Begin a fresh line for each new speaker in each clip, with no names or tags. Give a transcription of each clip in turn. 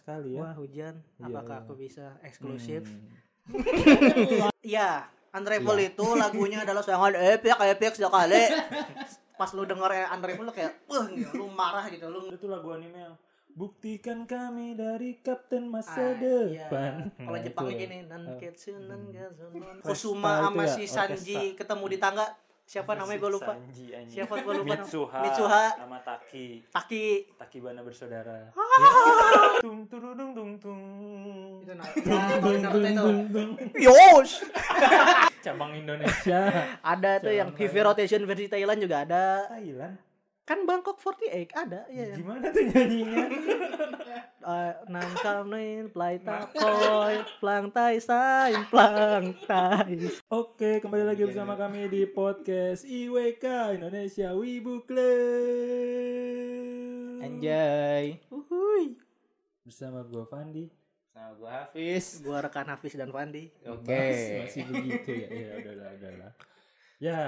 sekali ya.
Wah hujan,
Iya,
apakah
iya.
aku bisa eksklusif?
Hmm.
Ya, Unravel itu lagunya adalah sangat epic, epic sekali. Pas lu denger Unravel lu kayak, wah, lu marah gitu, lu
Itu lagu anime yang buktikan kami dari kapten
Ah,
masa
iya.
depan.
Kalau
Nah,
Jepang
itu.
gini, nan
Oh.
ketsu nan gazunon.
Orkestra itu
Kusuma sama
ya,
si Sanji
orkestra.
ketemu di tangga. Siapa namanya gue lupa.
Sanji, anjing.
Siapa gue lupa. namanya?
Mitsuha,
Mitsuha.
sama Taki.
Taki.
Taki Bana bersaudara. tung turudung tung tung.
Itu nah,
Tung tung
Naruto
tung
itu.
tung tung.
Yosh.
Cabang Indonesia.
Ada tuh yang
Jangan.
PV rotation versi Thailand juga ada.
Thailand.
Kan Bangkok 48 ada ya.
Gimana tuh nyanyinya?
Nam kam nin plai takoy plang tai sain plang tai.
Oke, kembali lagi bersama kami di podcast IWK Indonesia Wibu Club.
Anjay.
Uhuy.
Bersama gua Fandi.
Sama gue Hafiz.
Gua rekan Hafiz dan Fandi.
Oke.
Mas, Masih begitu ya. Ya udahlah, udahlah. Ya.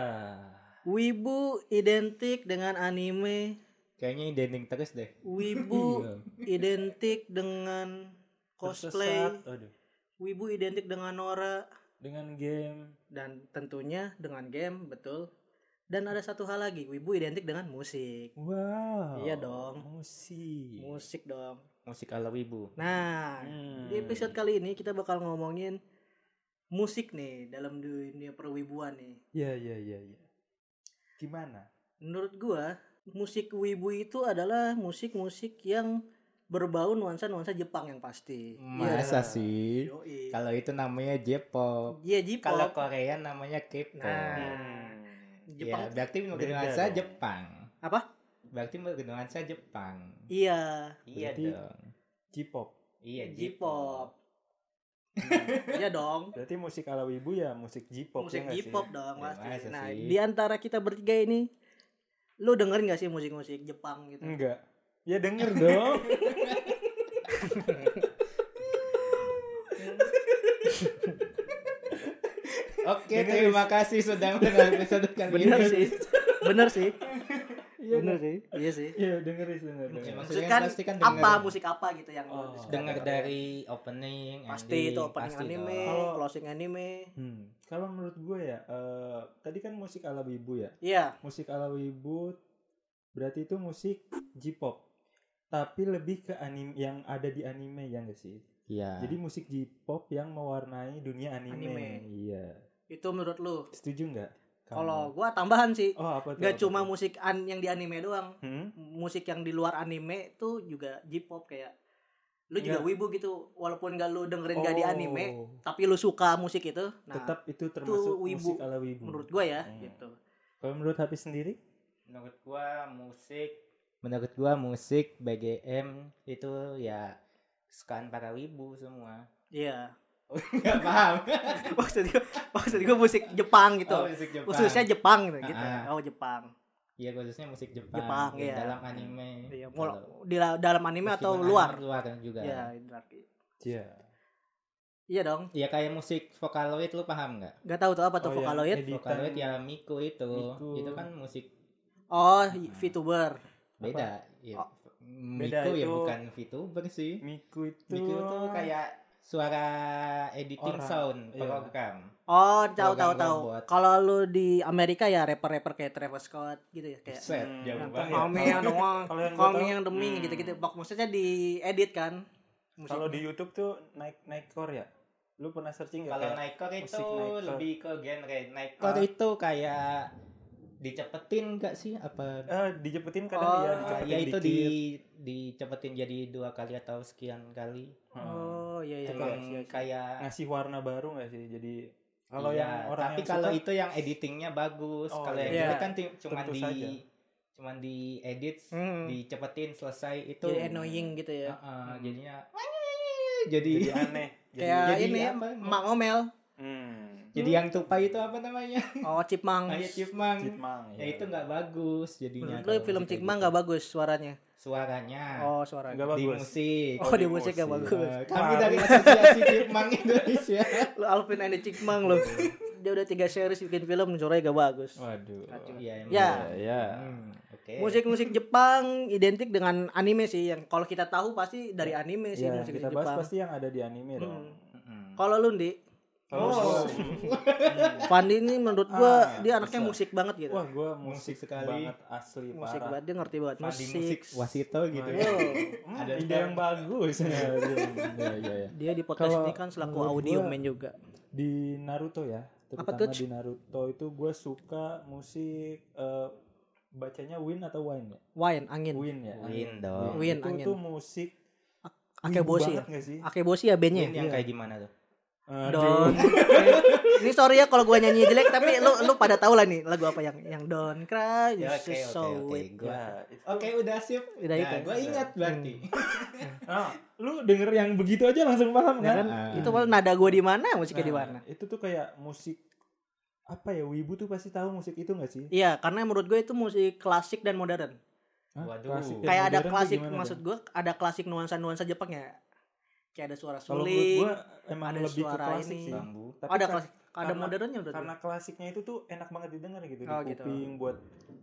Wibu identik dengan anime.
Kayaknya identik terus deh.
Wibu
Iya.
identik dengan cosplay,
Tersesat. Aduh.
Wibu identik dengan Nora
Dengan game
dan tentunya dengan game, betul. Dan ada satu hal lagi, Wibu identik dengan musik.
Wow.
Iya dong.
Musik.
Musik dong.
Musik ala wibu.
Nah,
Hmm.
di episode kali ini kita bakal ngomongin musik nih dalam dunia perwibuan nih.
Ya, ya, ya, ya. Gimana?
Menurut gua, musik wibu itu adalah musik-musik yang berbau nuansa-nuansa Jepang yang pasti.
Iya.
Masa sih?
Yoi.
Kalau itu namanya J-pop.
Iya, Jepang.
Kalau Korea namanya K-pop.
Nah, Jepang
ya, berarti menurut
Beda
nuansa
dong.
Jepang.
Apa?
Berarti menurut nuansa Jepang.
Iya,
Iya
Berarti-
dong.
J-pop.
Iya
J-pop.
J-pop.
iya dong.
Berarti musik ala wibu ya musik J-pop.
musik
ya nggak sih?
J-pop dong
Ya,
pasti.
masa
Nah,
sih?
di antara kita bertiga ini lu dengerin gak sih musik-musik Jepang gitu?
Hmm.
Enggak. Ya denger dong.
Oke,
Dengerin.
terima kasih sudah menonton episode kali ini.
Bener sih. Bener sih.
Iya
Bener
dong.
sih. Iya sih.
Iya dengerin dengerin.
Ya,
dengerin.
maksudnya
Maksudnya
pasti kan denger.
Apa musik apa gitu yang
Oh.
lu suka
Dengar
dengerin?
dari opening,
pasti itu opening
pasti
anime,
dong.
Kalau-
closing anime.
Hmm. Kalau menurut gue ya, eh, tadi kan musik ala wibu ya.
Iya,
Musik ala wibu berarti itu musik J-pop. Tapi lebih ke anime yang ada di anime ya enggak sih?
Iya.
Jadi musik J-pop yang mewarnai dunia anime.
Anime.
Iya.
itu menurut lu.
Setuju nggak? kamu?
Kalau gua tambahan sih,
oh apa tuh?
nggak
apa
cuma
tuh?
musik an yang di anime doang.
Hmm?
musik yang di luar anime tuh juga J-pop kayak lu juga
Iya.
wibu gitu walaupun gak lu dengerin gak di anime
Oh,
tapi lu suka musik itu nah
tetap itu termasuk musik
wibu.
ala wibu.
menurut gua ya
Hmm.
gitu
Kalau menurut Hafiz sendiri?
menurut gua musik menurut gua musik BGM itu ya kesukaan para wibu semua
iya
nggak paham
maksud gua maksud gua musik Jepang gitu
oh, musik Jepang
khususnya Jepang gitu, gitu.
Ah.
oh Jepang
iya khususnya musik Jepang,
Jepang,
yang
iya.
dalam anime
Iya,
Kalau-
mul- di la- dalam anime atau
meskipun
luar
anime luar juga
iya di luar.
Iya.
iya dong
ya kayak musik Vocaloid lu paham nggak
nggak tahu tuh apa tuh
iya.
Oh, yang
Vocaloid
editan.
Vocaloid ya Miku itu
Miku.
itu kan musik
oh
Hmm.
VTuber
beda ya.
Oh.
Beda
Miku ya
itu-
bukan VTuber sih
Miku itu,
Miku tuh kayak suara editing
Orang.
sound
Iya.
program
oh tahu tahu
Program
tahu
robot.
kalau lu di Amerika ya rapper-rapper kayak Travis Scott gitu ya kayak
set
Hmm.
jauh
Yang
banget
Bang,
Kami
ya.
yang doang,
Kalau yang gua
kami
tahu-
yang deming
Hmm.
gitu-gitu. Bak- Maksudnya di edit kan? Musik.
Kalau di YouTube tuh naik naik core ya. Lu pernah searching nggak?
Kalau
Iya, kayak
Nightcore itu
musik Nightcore.
lebih ke genre. Nightcore
Ah.
itu kayak dicepetin gak sih apa?
Eh, dijepetin kadang
Oh,
ya,
Ah,
dijepetin
ya itu di
dikit.
dicepetin jadi dua kali atau sekian kali.
Hmm.
Oh iya iya.
Itu
Iya,
kan
iya, iya.
kayak
ngasih warna baru nggak sih? Jadi kalau
iya,
yang orang
tapi
yang
kalau
suka,
itu yang editingnya bagus.
Oh,
kalau
iya.
yang
Iya,
ini kan ti- cuman
tentu
di
saja.
cuman di edit,
Hmm.
dicepetin selesai itu.
Jadi annoying gitu ya.
Ah, ah,
Hmm.
jadinya jadi
jadi anu. aneh. Jadi,
Kayak
jadi
ini ya,
apa?
Mak ngomel.
hmm,
jadi yang tupai itu apa namanya?
Oh Cipmang.
Kayak Chipmunk.
Jitmang,
Ya itu nggak bagus jadinya.
Menurut lu
kalau
film
musik kayak
Cipmang
gitu.
nggak bagus suaranya?
Suaranya.
Oh suaranya.
Nggak
di
bagus.
musik.
Oh, di musik
Iya.
nggak bagus. Oh.
Eh, kami
Baru.
dari asosiasi Cipmang Indonesia.
Lu Alvin and the Cipmang lu. dia udah tiga series bikin film coy gak bagus.
Waduh.
Iya, emang.
Ya.
Ya, ya.
Hmm, Oke.
Musik-musik Jepang identik dengan anime sih yang kalau kita tahu pasti dari anime sih
Ya,
musik
kita bahas
Jepang.
pasti yang ada di anime dong.
Hmm.
Mm-mm.
Kalau lu Ndi,
Kalau
Oh.
Fandi ini menurut
Ah,
gua dia anaknya
bisa.
musik banget gitu.
Wah, gua musik,
Musik sekali.
banget asli
musik
parah.
banget dia ngerti banget
Fandi
musik.
musik wasito gitu ya.
Waduh.
Hmm,
Ada ide
ntar.
yang bagus. ya, ya, ya.
Dia di podcast
Kalau
ini kan selaku
menurut
audio
gua-
man juga.
Di Naruto ya,
Apa
terutama
tuh,
di Naruto itu gue suka musik eh, bacanya Win atau Wine ya?
Wine, angin.
Win ya.
Win dong.
itu
Win, angin.
tuh musik
Akeboshi
banget
ya.
nggak sih? Iya,
Akeboshi ya
Win
bandnya. ya?
yang kayak gimana tuh?
Aduh.
Don. Eh, ini sorry ya kalau gua nyanyi jelek tapi lu lu pada tahu lah nih lagu apa yang yang Don Cry You
Ya, oke,
should
oke,
so
oke.
It.
Gua-
Ya, itu-
Oke, udah sip.
Udah itu. Hmm.
Gue ingat berarti.
Ah, lu denger yang begitu aja langsung paham
Ya
kan?
kan?
Ah.
Itu malah nada gua di mana, musiknya di
Nah,
mana.
Itu tuh kayak musik apa ya? Wibu tuh pasti tahu musik itu gak sih?
Iya, karena menurut gue itu musik klasik dan modern.
Hah?
Waduh.
Klasik dan
Kayak ada
modern tuh
klasik,
gimana,
maksud
Bang?
gue ada klasik nuansa-nuansa Jepangnya. Kayak ada suara
kalau menurut
suling,
gua emang
ada
lebih ke
suara
klasik
ini.
sih.
Bambu.
Tapi
ada
ka-
klasik, ada
karena-
modernnya menurut
karena
gue.
klasiknya itu tuh enak banget didengar gitu
Oh,
di
gitu.
kuping buat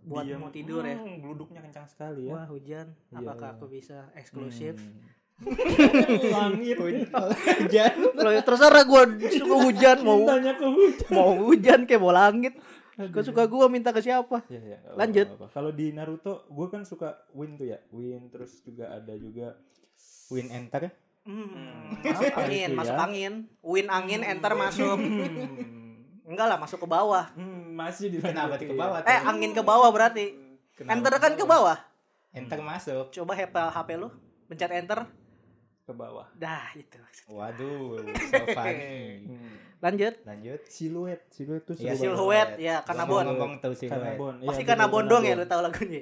Buat
diem.
mau tidur ya.
Hmm, Bluduknya kencang sekali ya.
Wah hujan,
Iya, Hmm.
apakah
iya.
aku bisa eksklusif?
Hmm. Langit
Hujan.
Loh, ya terserah gue suka hujan Kan mau
cintanya ke hujan.
mau hujan kayak mau langit. Gue suka gue minta ke siapa?
Ya, ya, nggak
Lanjut.
apa-apa. Kalau di Naruto, gue kan suka Win tuh ya. Win terus juga ada juga
Win enter.
Hmm,
Hmm,
masuk
apa
angin,
itu
masuk
ya?
angin, win angin, enter masuk.
Hmm.
Enggak lah, masuk ke bawah.
Hmm, masih di
Kenapa tuh ke bawah?
Eh, angin ke bawah berarti.
Kenapa?
Enter kan ke bawah. Hmm.
Enter masuk.
Coba HP HP lu, pencet enter.
iya. Ke bawah.
Dah, gitu. itu.
Waduh, so funny.
Hmm.
Lanjut.
Lanjut.
Siluet, siluet tuh
Ya,
seru banget.
Silhouette, ya, kanabon.
Ngomong-ngomong tahu siluet.
Kanabon. Iya,
Pasti
bener,
karena bondong ya
Kanabon.
lu tahu lagunya.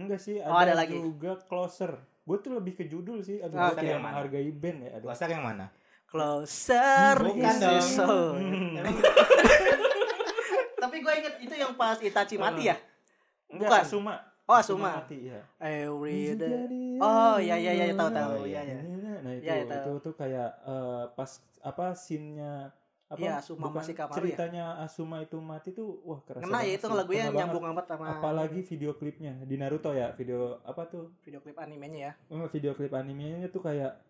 Enggak sih, ada,
Oh, ada lagi.
juga closer. Gue tuh lebih ke judul sih, aduh
Ah,
gua
oke.
tidak menghargai band ya. Aduh.
Closer yang mana?
Closer
Iya,
oh.
Bukan
is your
dong.
soul.
Hmm.
Tapi gue inget itu yang pas Itachi mati ya.
Enggak,
Bukan.
Asuma.
Oh, Asuma.
mati, ya.
Every day.
Jadi-
Oh, iya, iya, iya, tahu, tahu,
Oh,
iya, iya.
Nah, itu,
Iya, iya, tahu.
itu tuh kayak eh, pas apa scene-nya apa
Iya, Asuma
bukan,
masih Kamaru ya?
ceritanya Asuma itu mati tuh wah kerasa
Kena ya
banget
itu
sih,
lagunya
kena banget.
nyambung amat sama
apalagi video klipnya di Naruto ya video apa tuh
video klip animenya ya.
Eh, video klip animenya tuh kayak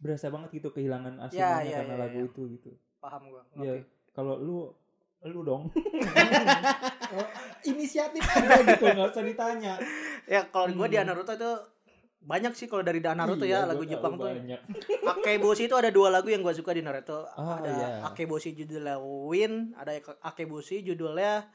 berasa banget gitu kehilangan
Ya,
Asumanya
ya,
karena
ya,
lagu
ya.
itu gitu.
Paham gue. Oke.
Iya. Kalau lu lu dong
Inisiatif aja gitu, nggak usah ditanya.
Ya kalau gue di
Hmm.
Naruto itu banyak sih kalau dari Naruto ya
Iya,
lagu
gua
Jepang
tahu
tuh.
banyak.
Akeboshi itu ada dua lagu yang gue suka di Naruto.
Ah,
ada
iya.
Akeboshi judulnya Win, ada Akeboshi judulnya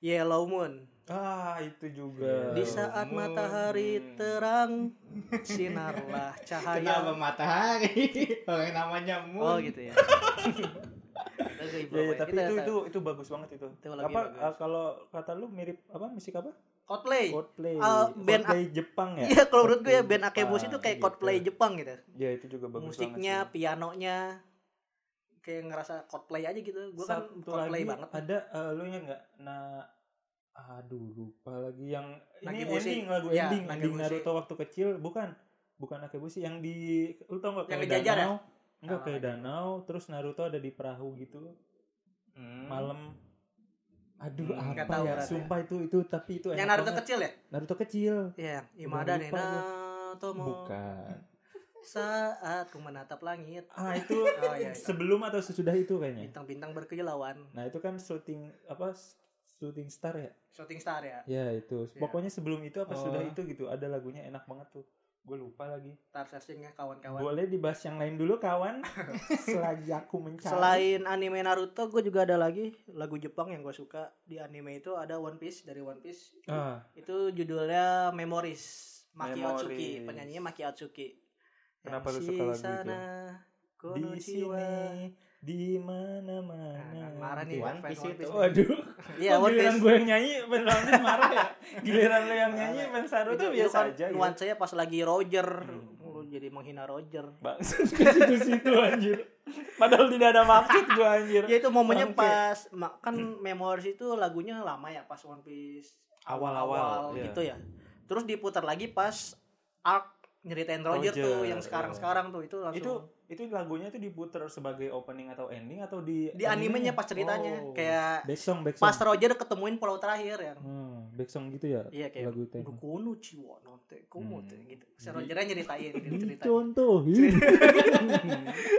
Yellow Moon.
Ah, itu juga.
Di saat
Moon.
matahari terang, sinarlah
Kenapa
cahaya.
matahari? Orang namanya
Oh
Moon.
gitu ya. Kita
Iya,
ke
iya,
improvise.
tapi
Kita
itu,
tahu.
itu itu bagus banget itu.
Itu lagu yang
apa
bagus.
eh, kalau kata lu mirip apa musik apa?
Coldplay.
Coldplay.
eh, band
Coldplay Jepang ya?
Iya, kalau menurut gue ya
Coldplay
band Akeboshi itu
Jepang,
kayak
gitu.
Coldplay Jepang gitu.
Ya, itu juga bagus
Musiknya,
banget. sih.
pianonya kayak ngerasa Coldplay aja gitu. Gue kan
Satu
Coldplay
lagi
banget.
Ada eh, lu ingat nggak? Nah, aduh lupa lagi yang ini
Nakeboshi.
ending lagu
Iya,
ending ending
Nakeboshi.
Naruto waktu kecil bukan bukan Nakeboshi yang di lu tau nggak
Yang
kayak
di jajar ya?
danau enggak
Oh,
kayak
iya.
danau terus Naruto ada di perahu gitu
Hmm.
malam aduh
Hmm,
apa
nggak tahu
ya
berarti.
sumpah itu itu tapi itu
Yang
enak
Naruto
banget.
kecil ya?
Naruto kecil
Iya, Imada
lupa
Nena Tomo.
bukan
Saat ku menatap langit.
ah itu
Oh iya. iya.
sebelum atau sesudah itu kayaknya
Bintang-bintang berkilauan.
nah itu kan shooting apa shooting star ya
Shooting star ya.
Ya itu.
Iya.
Pokoknya sebelum itu apa
Oh.
sudah itu gitu. Ada lagunya enak banget tuh. Gue lupa lagi.
Star searching ya kawan-kawan.
Boleh dibahas yang lain dulu kawan. Selagi aku mencari.
Selain anime Naruto, gue juga ada lagi lagu Jepang yang gue suka di anime itu ada One Piece dari One Piece.
Ah,
Itu judulnya Memories. Maki
Memories.
Otsuki, penyanyinya Maki Otsuki.
Kenapa lu
Yang
suka lagu itu?
sana,
di
kono jiwa.
sini di mana-mana.
Nah, marah nih
One
fans
Piece itu.
Waduh.
Iya,
Kok
One
giliran
Piece.
gue yang nyanyi Ben Ramdes marah ya. Giliran lo yang nyanyi Ben Saru tuh biasa aja. gitu.
Nuansanya pas lagi Roger,
Hmm.
lu jadi menghina Roger.
Bangsat ke situ-situ anjir. Padahal tidak ada maksud gue anjir.
Ya itu momennya
Bangke.
pas ma- kan Memories itu lagunya lama ya pas One Piece
Awal-awal, iya.
gitu ya. Terus diputar lagi pas arc nyeritain Roger, tuh
Roger, iya.
yang sekarang-sekarang tuh itu langsung
Itu itu lagunya itu diputer sebagai opening atau ending atau di
di animenya pas ceritanya
Oh.
kayak
back song back
pas
song.
Roger ketemuin pulau terakhir ya.
Hmm, back song gitu ya
Iya kayak
lagu teh.
Dukono ciwa nonte komo
Hmm.
teh gitu. Si Rogernya nyeritain gitu ceritain.
Dicontohin.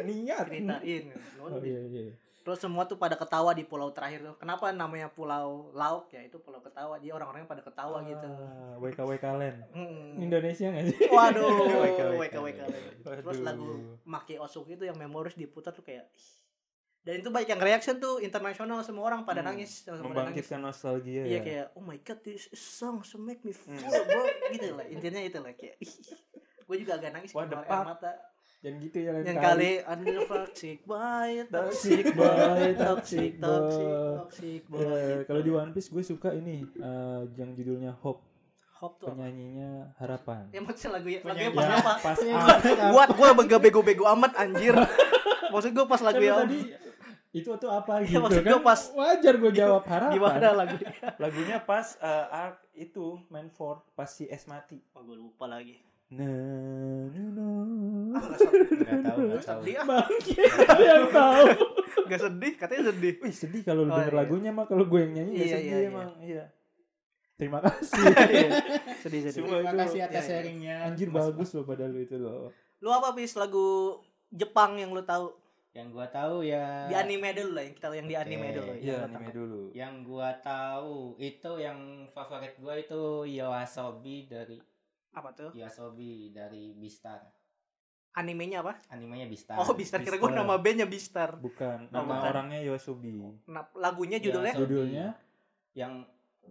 Niat.
Ceritain. gitu.
Oh, iya, iya.
Terus semua tuh pada ketawa di pulau terakhir tuh. Kenapa namanya Pulau Lauk ya? Itu pulau ketawa. Jadi orang-orangnya pada ketawa gitu.
Ah, WKWK Land.
Mm.
Indonesia nggak sih?
Waduh,
Weka, weka,
weka weka.
weka.
Terus
Waduh.
lagu Maki Osuki itu yang memoris diputar tuh kayak ih. dan itu baik yang reaction tuh internasional semua orang pada
Hmm.
nangis sama-sama pada nangis.
Membangkitkan nostalgia
Iya
ya.
kayak oh my god this song so make me
Hmm.
feel bro gitu lah intinya itu lah kayak gue juga agak nangis
What the
keluar air
fuck?
mata
Jangan gitu ya lain
yang kali under toxic boy toxic
Toxic
boy
boy,
toxic
toxic
toxic
boy.
toxic boy
Eh, kalau di One Piece gue suka ini eh, yang judulnya Hope,
hop tuh apa?
penyanyinya Harapan.
ya maksudnya lagu ya lagunya
Penyanyi.
pas
Ya,
apa
pas
Gua-
up.
buat gue bego-bego amat anjir maksud gue pas lagu
Kan lu
ya
tadi itu tuh apa
Ya,
gitu
maksud
kan?
gua pas-
wajar gue jawab harapan.
gimana lagu
Lagunya pas eh, arc itu main for pas si S mati.
oh gue lupa lagi
Na, na, na.
Nggak tahu, nggak tahu.
sedih ah
Bangke, ada yang tahu.
nggak sedih katanya sedih
Wih sedih kalau lu
Oh,
denger
iya.
lagunya mah kalau gue yang nyanyi nggak
Iya,
sedih
iya,
emang. Iya. Terima kasih.
sedih sedih
Cuma
Terima
itu-
kasih atas
Iya, iya.
sharingnya.
Anjir
Mas-
bagus loh padahal itu loh.
lu apa bis lagu Jepang yang lu tahu
Yang gua tahu ya.
di anime dulu lah yang kita yang di anime
Oke,
dulu
Iya
yang lu
anime
tahu.
dulu.
Yang gua tahu itu yang favorit gua itu Yoasobi dari
apa tuh
Yoasobi dari Bistar.
animenya apa
Animenya Bistar.
oh Bistar kira gue nama bandnya Bistar
Bukan
Nama
nama
orang.
orangnya Yosubi.
nah, lagunya judulnya
Yoasobi.
Judulnya?
yang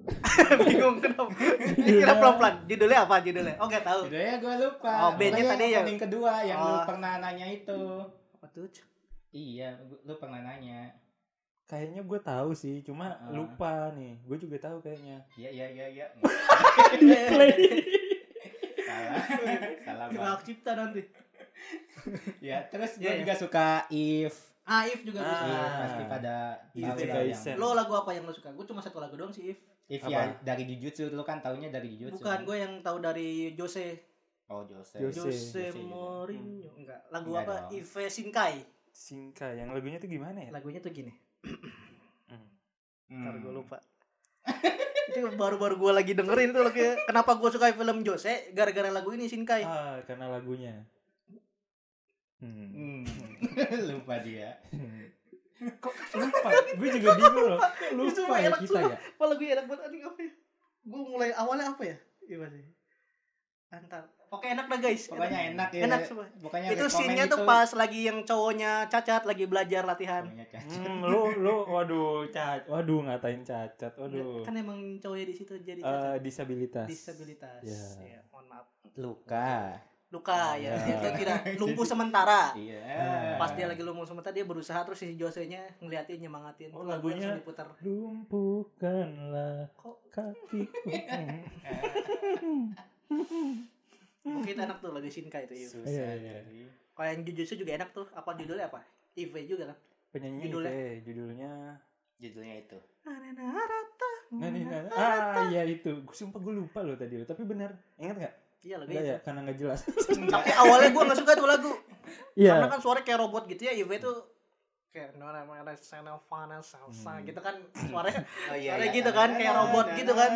bingung kenapa ini kira pelan pelan judulnya apa judulnya oh nggak tahu
judulnya ya, gua lupa.
Oh, bandnya
Pokoknya
tadi
yang
ya.
opening kedua yang lu
Oh.
pernah nanya itu.
apa tuh
Iya, gua- lu pernah nanya.
Kayaknya gue tahu sih, cuma
Ah.
lupa nih. Gue juga tahu kayaknya.
Iya, iya, iya, iya.
Eh,
Salah. Salah.
Cuma
Bang.
hak cipta nanti
Ya, terus
Iya,
gua
iya.
juga suka If.
ah If juga gue
Ah.
suka
Iya, pasti pada
If
tahu
the
lah
guys
yang-
send.
lo lagu apa yang lo suka gue cuma satu lagu doang sih If
If
Apa?
ya dari Jujutsu lu kan taunya dari Jujutsu.
bukan gue yang tahu dari Jose
Oh, Jose.
Jose.
Jose
Jose juga.
Mourinho enggak lagu
Hmm. Enggak
apa
dong.
Ive Shinkai
Singka yang lagunya tuh gimana ya?
lagunya tuh gini
Hmm.
Hmm.
Ntar gue lupa. itu baru-baru gue lagi dengerin tuh lagi. Kenapa gue suka film Jose? Gara-gara lagu ini Shinkai.
Ah, karena lagunya. Hmm.
Hmm. lupa dia.
Hmm.
Kok lupa? Gue juga bingung loh. Lupa
Sumpah,
ya
enak,
kita
sumpah.
ya.
Apa lagu enak banget anjing apa ya? Gue mulai awalnya apa ya? Iya masih. Antar. Oke enak dah guys.
Pokoknya enak ya.
Enak semua.
Pokoknya
Itu
rekomen
scene-nya tuh
itu.
pas lagi yang cowoknya cacat lagi belajar latihan.
Pokoknya kan. cacat.
Hmm, lu lu waduh cacat. Waduh ngatain cacat. Waduh.
Kan emang cowoknya di situ
Eh,
jadi cacat.
disabilitas.
disabilitas.
Iya.
Iya, mohon maaf.
Luka.
Luka ya,
Iya.
dia tuh tidak lumpuh sementara.
Iya.
Ah, pas dia lagi lumpuh sementara dia berusaha terus si Jose nya ngeliatin nyemangatin
Oh,
Tuh lagunya
lagunya-
langsung diputar
Lumpuhkanlah
kok
kakiku.
mungkin enak tuh lagu Shinkai itu Ive
Iya,
Susah
iya.
jadi.
kalau yang Jujutsu juga enak tuh apa judulnya apa Ive juga kan
Penyanyinya
Judulnya?
judulnya. eh, judulnya.
Judulnya itu.
Nah, nih,
Hmm.
nah, ah, iya itu. Gua sumpah gue lupa loh tadi lo, tapi benar. Ingat nggak?
iya lagu
Enggak
itu
ya, karena nggak jelas.
tapi awalnya gue nggak suka tuh lagu karena
Iya.
kan suara kayak robot gitu ya Ive tuh kayak nona mana sana fana salsa
Hmm.
gitu kan suaranya
Oh
Soalnya gitu kan, kayak robot gitu kan.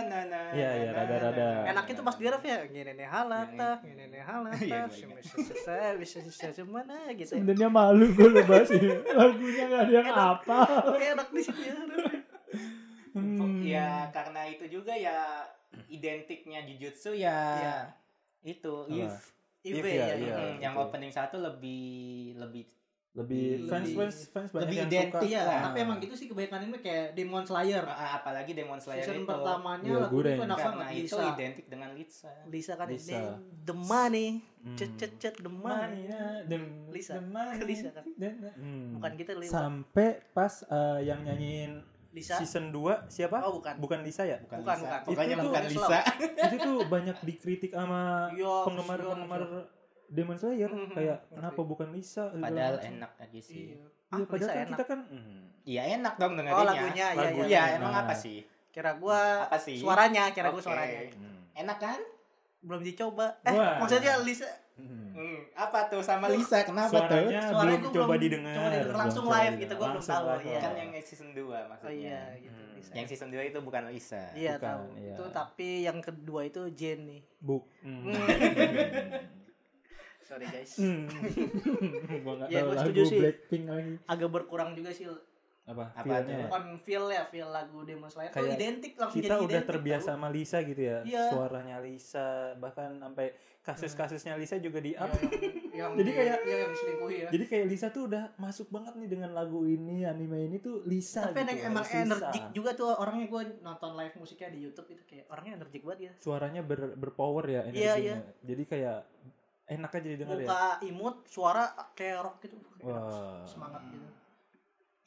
Iya, iya, rada-rada.
enak itu pas di ref ya gini nih halata gini nih
Iya,
halata
gua ingat.
bisa bisa bisa cemana gitu
Sebenarnya malu gue lo bahas ini. Lagunya nggak ada yang
Enak.
apa.
Oke, enak di situ ya.
Hmm.
Ya karena itu juga ya identiknya Jujutsu ya
Iya.
itu
Apa?
if
Ive
Iya, iya.
ya, iya.
Hmm, yang
betul.
opening satu lebih lebih
lebih
Lebih-
fans fans fans banyak
lebih
yang suka.
identik
Iya,
lah.
tapi emang gitu sih kebanyakan ini kayak Demon Slayer.
Ah, apalagi Demon Slayer
Season
itu
pertamanya
Iya,
lagunya
Guren.
tuh enak
karena
banget
itu
Lisa.
identik dengan Litsa
Lisa kan
Lisa.
ini the money,
Hmm.
cet cet cet the money.
Mana dem-
Lisa.
dem- mana
Lisa kan.
dem- Hmm.
Bukan kita Lisa.
Sampai pas eh, yang nyanyiin
Lisa.
season 2 siapa?
Oh, bukan.
Bukan Lisa ya?
bukan,
Bukan,
Lisa
bukan.
pokoknya
Itu tuh
bukan
Islam.
Lisa
Itu tuh banyak dikritik sama
Iya,
penggemar-penggemar Demon Slayer
Mhm,
kayak
ngerti.
kenapa bukan Lisa? Segala
padahal
macam.
enak aja sih
Iya.
Iya,
Ah,
padahal
Lisa
kan
enak.
kita kan hmm,
iya enak dong dengerinnya
Oh, lagunya iya
Lagunya.
iya.
Iya, emang
Nah.
apa sih
Kira gua eh,
apa sih
suaranya, kira gua
Oke.
suaranya.
hmm.
enak kan
Belum dicoba. Eh,
Wah.
maksudnya Lisa
Hmm. Apa tuh sama Lisa? Kenapa
Suaranya
tuh?
Suaranya
belum
Nah, gua
coba
belum
didengar.
coba didengar, langsung
coba
live
didengar.
gitu, gua belum
Langsung
tahu,
live.
iya.
Kan yang season 2 maksudnya.
Oh iya gitu
Hmm.
bisa.
Yang season 2 itu bukan Lisa.
Iya
Bukan,
tahu.
iya.
Itu tapi yang kedua itu Jenny.
Buk. Hmm.
Sorry guys.
Hmm. gua nggak
Iya,
tahu
gua
lagu
setuju sih.
Blackpink lagi.
Agak berkurang juga sih
Apa?
Apa
feel-nya
tuh?
ya?
bukan feel ya, feel lagu Demon Slayer. Tuh
Kayak
identik langsung
Kita
jadi
udah
identik,
terbiasa
tahu.
sama Lisa gitu ya.
Iya.
Suaranya Lisa, bahkan sampai kasus-kasusnya Lisa juga di
Iya, Yang,
up.
yang
Jadi
di-
kayak-
iya, yang diselingkuhi ya.
Jadi kayak Lisa tuh udah masuk banget nih dengan lagu ini, anime ini tuh Lisa
tapi ada
gitu.
yang emang
harus Lisa.
energik juga tuh orangnya gue nonton live musiknya di YouTube itu kayak orangnya energik banget ya
Suaranya ber, berpower ya energinya.
iya.
Jadi kayak enak aja didengar ya.
muka imut suara kayak rock gitu
Wah.
semangat gitu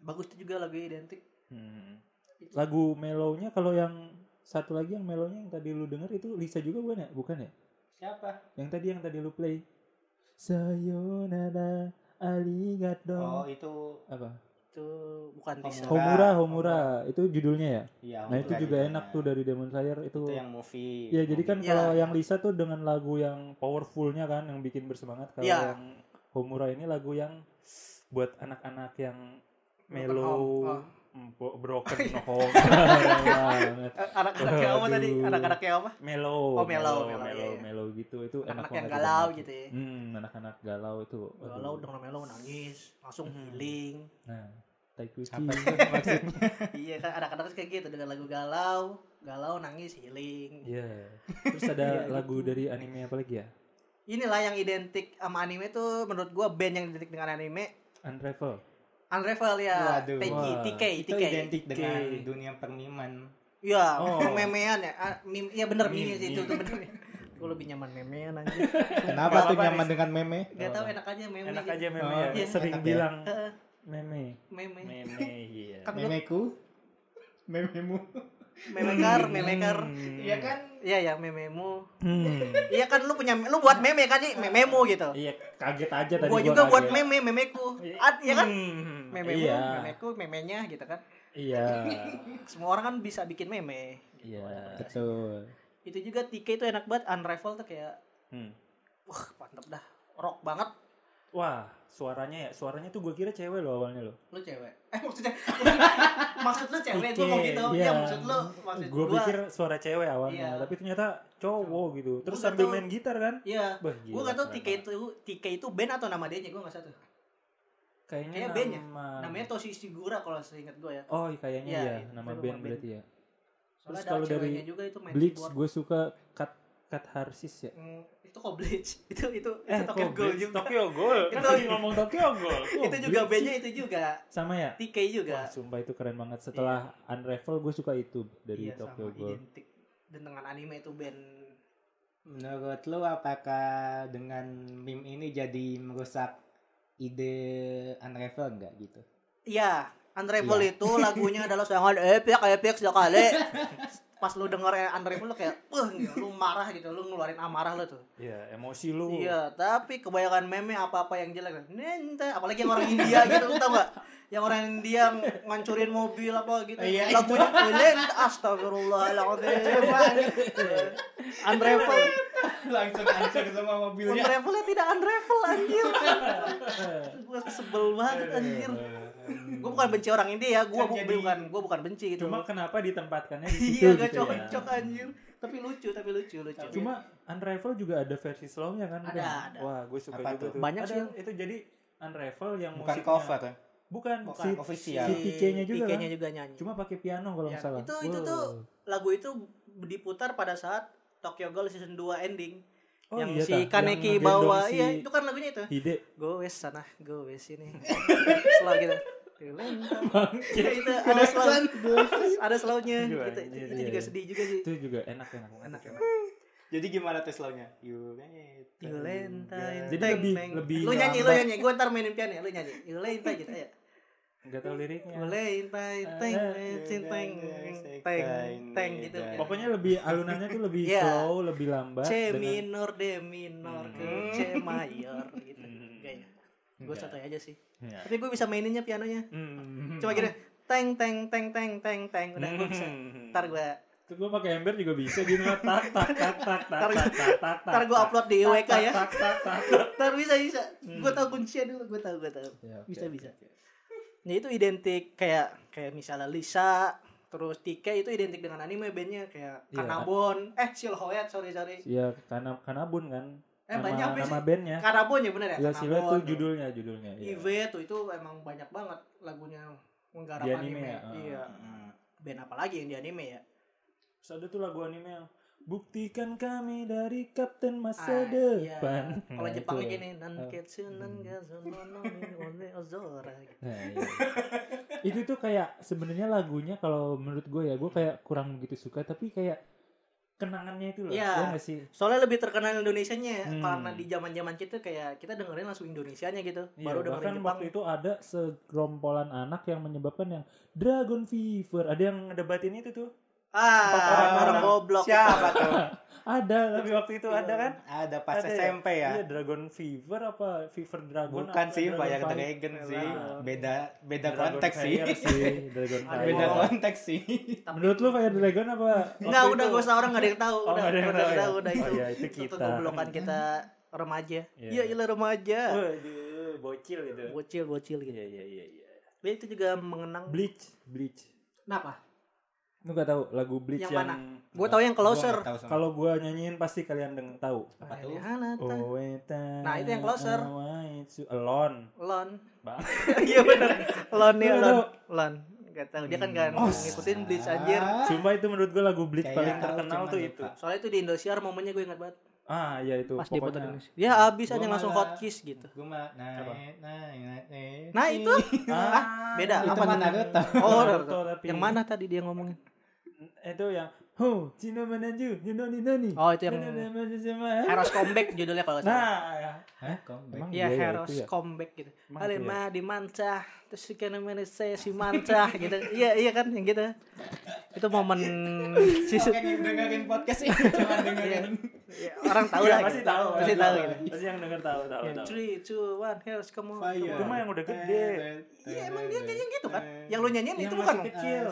bagus tuh juga lagu identik
Hmm.
Itu.
Lagu melownya kalau yang satu lagi yang melownya yang tadi lu denger itu Lisa juga bukan ya? Bukan ya?
Siapa?
Yang tadi yang tadi lu play. Sayonara
Oh,
arigato.
itu
Apa?
itu bukan bisa
Enggak,
Homura, Homura. Itu judulnya ya?
ya
Nah, itu
Homura
juga
judulnya.
enak tuh dari Demon Slayer itu.
Itu yang movie.
Ya, jadi kan
Iya.
kalau yang Lisa tuh dengan lagu yang powerfulnya kan yang bikin bersemangat kalau
Ya.
Iya.
yang Homura ini lagu yang buat anak-anak yang
Broken home.
Oh.
mellow mm, bo- broken
iya.
home banget.
Eh, anak-anak yang apa tadi
Aduh.
anak-anak yang apa
mellow
Oh, mellow,
mellow
mellow,
mellow,
iya.
mellow gitu itu enak
anak-anak yang
banget
galau
didengar.
gitu ya
hmm anak-anak galau itu aduh.
galau dengan melo nangis langsung
Hmm.
healing
nah Taikuchi
Apa itu maksudnya?
iya kan anak-anak tuh kayak gitu dengan lagu galau galau nangis healing
Iya. terus
Iya,
ada
gitu.
lagu dari anime apa lagi ya
inilah yang identik sama anime tuh menurut gua band yang identik dengan anime
Unravel
Unravel ya,
Waduh.
TG,
Wah,
TK,
itu
TK.
identik dengan
Oke.
dunia permiman.
Iya,
Oh.
memean ya. Ah, mim, iya bener
Mim,
meme sih itu
mim.
tuh bener. Gue lebih nyaman memean aja.
Kenapa
Gak
tuh
apa-apa,
nyaman
Riz.
dengan meme?
Gak tau enak aja meme.
enak
gitu.
aja meme
Oh,
ya
iya.
sering
Enak ya.
bilang
Heeh,
meme
meme.
meme iya
Kan gua
Memeku? Mememu?
memekar, memekar.
Hmm.
Iya kan?
Iya ya, mememu.
Hmm.
Iya kan lu punya lu buat meme kan sih, mememu gitu.
iya kaget aja tadi gua
Gue juga buat
kaget.
meme, memeku. At, ya kan?
Hmm,
Mememu,
iya
memeku, memenya gitu kan.
iya
Semua orang kan bisa bikin meme.
iya
Betul.
Itu juga TK itu enak banget, Unravel tuh kayak
Hmm.
wah, mantep dah. Rock banget
wah suaranya ya suaranya tuh gue kira cewek loh awalnya loh
lu cewek eh maksudnya maksud lu cewek gue
Oke,
mau gitu
iya.
ya maksud lu maksud
gue
gua-
pikir suara cewek awalnya
Iya.
tapi ternyata cowok gitu terus
Gua gak
sambil
tahu.
main gitar kan
iya
Wah,
gue
gila,
gak tau
keren
TK
banget.
itu TK itu band atau nama dia nya gue gak satu
kayaknya
Kayaknya band ya?
nama
namanya Toshi Shigura kalau seingat gue ya
oh kayaknya
Iya,
ya,
iya.
nama
Itu
band
nama
berarti ya Terus
soalnya ada
kalau dari
ceweknya juga itu main
Blitz
keyboard.
gue suka Kat Kat Harsis ya
Hmm, itu kok Bleach itu itu
eh
itu Tokyo
kok
Ghoul
Blitz?
juga
Tokyo Ghoul kan
Itu-
lagi ngomong Tokyo Ghoul Kok
itu juga
Blitz
bandnya Iya.
sih?
itu juga
sama ya
TK
Wah,
juga
sumpah itu keren banget. Setelah Unravel gue suka itu dari
iya
Tokyo
sama
Ghoul.
identik dan dengan anime itu band
Menurut lu apakah dengan meme ini jadi merusak ide Unravel enggak gitu?
Iya, Unravel itu lagunya adalah sangat epic, epic sekali. Pas lu denger Unravel lu kayak, "Wah, gila, lu marah gitu, lu ngeluarin amarah lu tuh."
Iya, emosi lu.
Iya, tapi kebanyakan meme apa-apa yang jelek. Nente, apalagi yang orang India gitu, lu tau gak? Yang orang India ng- ngancurin mobil apa gitu.
Iya,
Lagunya Lent, astagfirullahaladzim. Unravel,
Langsung hancur semua
Iya.
mobilnya.
Unravelnya tidak Unravel anjir. Gue sebel banget anjir. Gue bukan benci orang India ya, gue
Kan jadi-
bukan gue bukan benci gitu.
Cuma kenapa ditempatkannya di situ
iya gak
gitu ya?
cocok anjir tapi lucu tapi lucu lucu
Tapi-
Cuma Unravel juga ada versi slownya kan?
Ada,
Bang?
ada.
Wah, gue suka
Apa
juga
tuh?
tuh.
Banyak
Ada,
sih.
Itu jadi Unravel yang
Bukan
musiknya-
cover kan?
Bukan,
Bukan,
si-
official.
si TK-nya juga
TK -nya
kan?
Iya. juga nyanyi
Cuma pakai piano kalau nggak
Ya,
salah.
itu itu
Wow.
tuh lagu itu diputar pada saat Tokyo Ghoul season 2 ending
Oh,
yang
iya
si
tah, yang
Kaneki
ngegendong
bawa
si
iya itu kan lagunya itu
Hide.
go west sana go west sini slow gitu ya, itu ada slow ada slownya
Aduh,
gitu
anjir,
itu
iya,
juga
iya.
sedih juga sih
Itu juga enak enak banget.
anak
Jadi gimana tuh slownya? Yulenta.
Yulentai
Jadi
teng,
lebih-
meng.
lebih
Lu nyanyi, lu
lambat.
nyanyi Gue ntar mainin piano ya, lu nyanyi Yulentai gitu, ayo
Nggak tahu liriknya.
Yulentai,
Ah,
teng,
ya,
teng, teng, teng, teng gitu
Pokoknya lebih alunannya tuh lebih
Iya.
slow, lebih lambat.
C
dengan-
minor, D minor, ke
Hmm.
C mayor gitu
Hmm.
Gaya Gue
Enggak.
sotoy aja sih
Iya.
Tapi gue bisa maininnya pianonya
Hmm. Hmm.
Hmm.
Cuma gini Teng, teng, teng, teng, teng, teng Udah gue bisa Ntar gue
Tuh gue pakai ember juga bisa gini mah tak tak tak tak tak
Ntar-
tak tak tak
Ntar gue upload di IWK ya.
tak tak tak
Ntar bisa bisa.
Hmm.
Gue tau kuncinya dulu. Gue tau gue tau. Bisa, bisa. Nah itu identik kayak kayak misalnya Lisa terus Tika itu identik dengan anime bandnya kayak
Iya.
Kanabon eh Silhouette sorry sorry
Iya, karena kanabun kan.
eh
nama,
banyak apa
nama
sih
bandnya.
Kanabon ya bener ya
Ya Silet tuh
Kanabon.
judulnya judulnya. iya.
Ive tuh itu emang banyak banget lagunya menggarap
Di
anime,
anime ya. ah.
iya band apa lagi yang di anime ya
Terus ada tuh lagu anime yang Buktikan kami dari Kapten
Ah,
Masa
iya.
Depan.
kalau
Nah,
Jepang
itu. Hmm.
gini nanketsu nangazu no no ni one ozora gitu.
Nah, iya. itu tuh kayak sebenarnya lagunya kalau menurut gue ya gue kayak kurang begitu suka tapi kayak kenangannya itu loh.
Iya.
Ya nggak sih?
soalnya lebih terkenal Indonesianya ya,
Hmm.
karena di zaman zaman kita kayak kita dengerin langsung Indonesianya gitu
Iya,
baru
bahkan
dengerin Jepang
waktu itu ada segerombolan anak yang menyebabkan yang Dragon Fever. Ada yang ngedebatin itu tuh.
ah
Empat
orang,
orang-
goblok
Siapa tuh?
Ada, tapi waktu itu ada kan?
Iya, Ada pas
Ada ya?
SMP ya.
Iya, Dragon Fever apa Fever Dragon?
Bukan
apa
sih,
Dragon
banyak
Fire?
Dragon sih.
Dragon-
Beda beda
Dragon
konteks sih.
Fire sih, Dragon
Ada
Fire.
Beda
Wow.
konteks Nah, sih.
Menurut lu Fire Dragon apa?
Enggak,
Waktu
udah
itu?
gak usah orang gak ada yang tahu.
Oh,
udah,
nggak ada yang
udah,
tahu ya?
udah, udah
Oh,
itu.
iya, itu kita.
kegoblokan kita remaja.
Iya.
Iya, ilah remaja.
Waduh, bocil itu.
Bocil, bocil gitu.
Iya, iya, iya, iya.
Tapi itu juga mengenang
Bleach, Bleach.
kenapa?
Lu gak tahu lagu Bleach
Yang
yang,
mana? Gue tahu yang closer.
Gua nggak tahu sama.
Kalau gua nyanyiin pasti kalian deng- tahu.
Apa tuh?
Hanata,
Oh, nah,
Nah, itu yang closer.
Alone.
Lon.
Bang.
Iya benar. Lon nih,
Nggak
Lon.
tahu.
Lon. Gak tahu dia kan gak
Oh,
ngikutin Blitz anjir.
Ah,
Sumpah itu menurut gua lagu Bleach
Kayak
paling
tahu,
terkenal
cuman
tuh
lupa.
itu.
Soalnya itu di Indosiar momennya gue ingat banget.
Ah, iya itu.
Pas di foto
pokoknya.
Indonesia. Ya abis
Gua
aja langsung
malah-
hot kiss gitu.
Gua mah
Apa?
naik naik naik naik.
Nah, itu.
Ah,
beda.
Itu
Apa
mah
tuh?
Naruto.
Oh,
Naruto,
Naruto.
tapi-
Yang mana tadi dia ngomongin?
Eh, Itu yang Ho, Cino Mananju, you know ni nani.
Oh, itu yang
yang
Heroes Comeback judulnya kalau nggak salah.
Nah, ya.
Hah, comeback.
Emang
Iya,
iya ya,
harus
itu ya.
comeback gitu.
Emang
Kali
itu ya?
mah dimancah, terus si Kenemene saya si mancah gitu. Iya, iya kan yang gitu. Itu momen si
Oke, yang dengerin podcast ini cuma dengerin.
ya, orang tahu
Iya,
lah.
pasti
gitu.
tahu. Iya,
Pasti tahu. gitu. Iya.
Pasti yang denger tahu, tahu,
Yang
tahu.
Three, two, one, harus kamu.
Itu mah yang udah gede.
Eh,
Iya, emang dia kayaknya gitu kan. Yang lu nyanyiin
Eh, Yang
itu bukan.
masih kecil.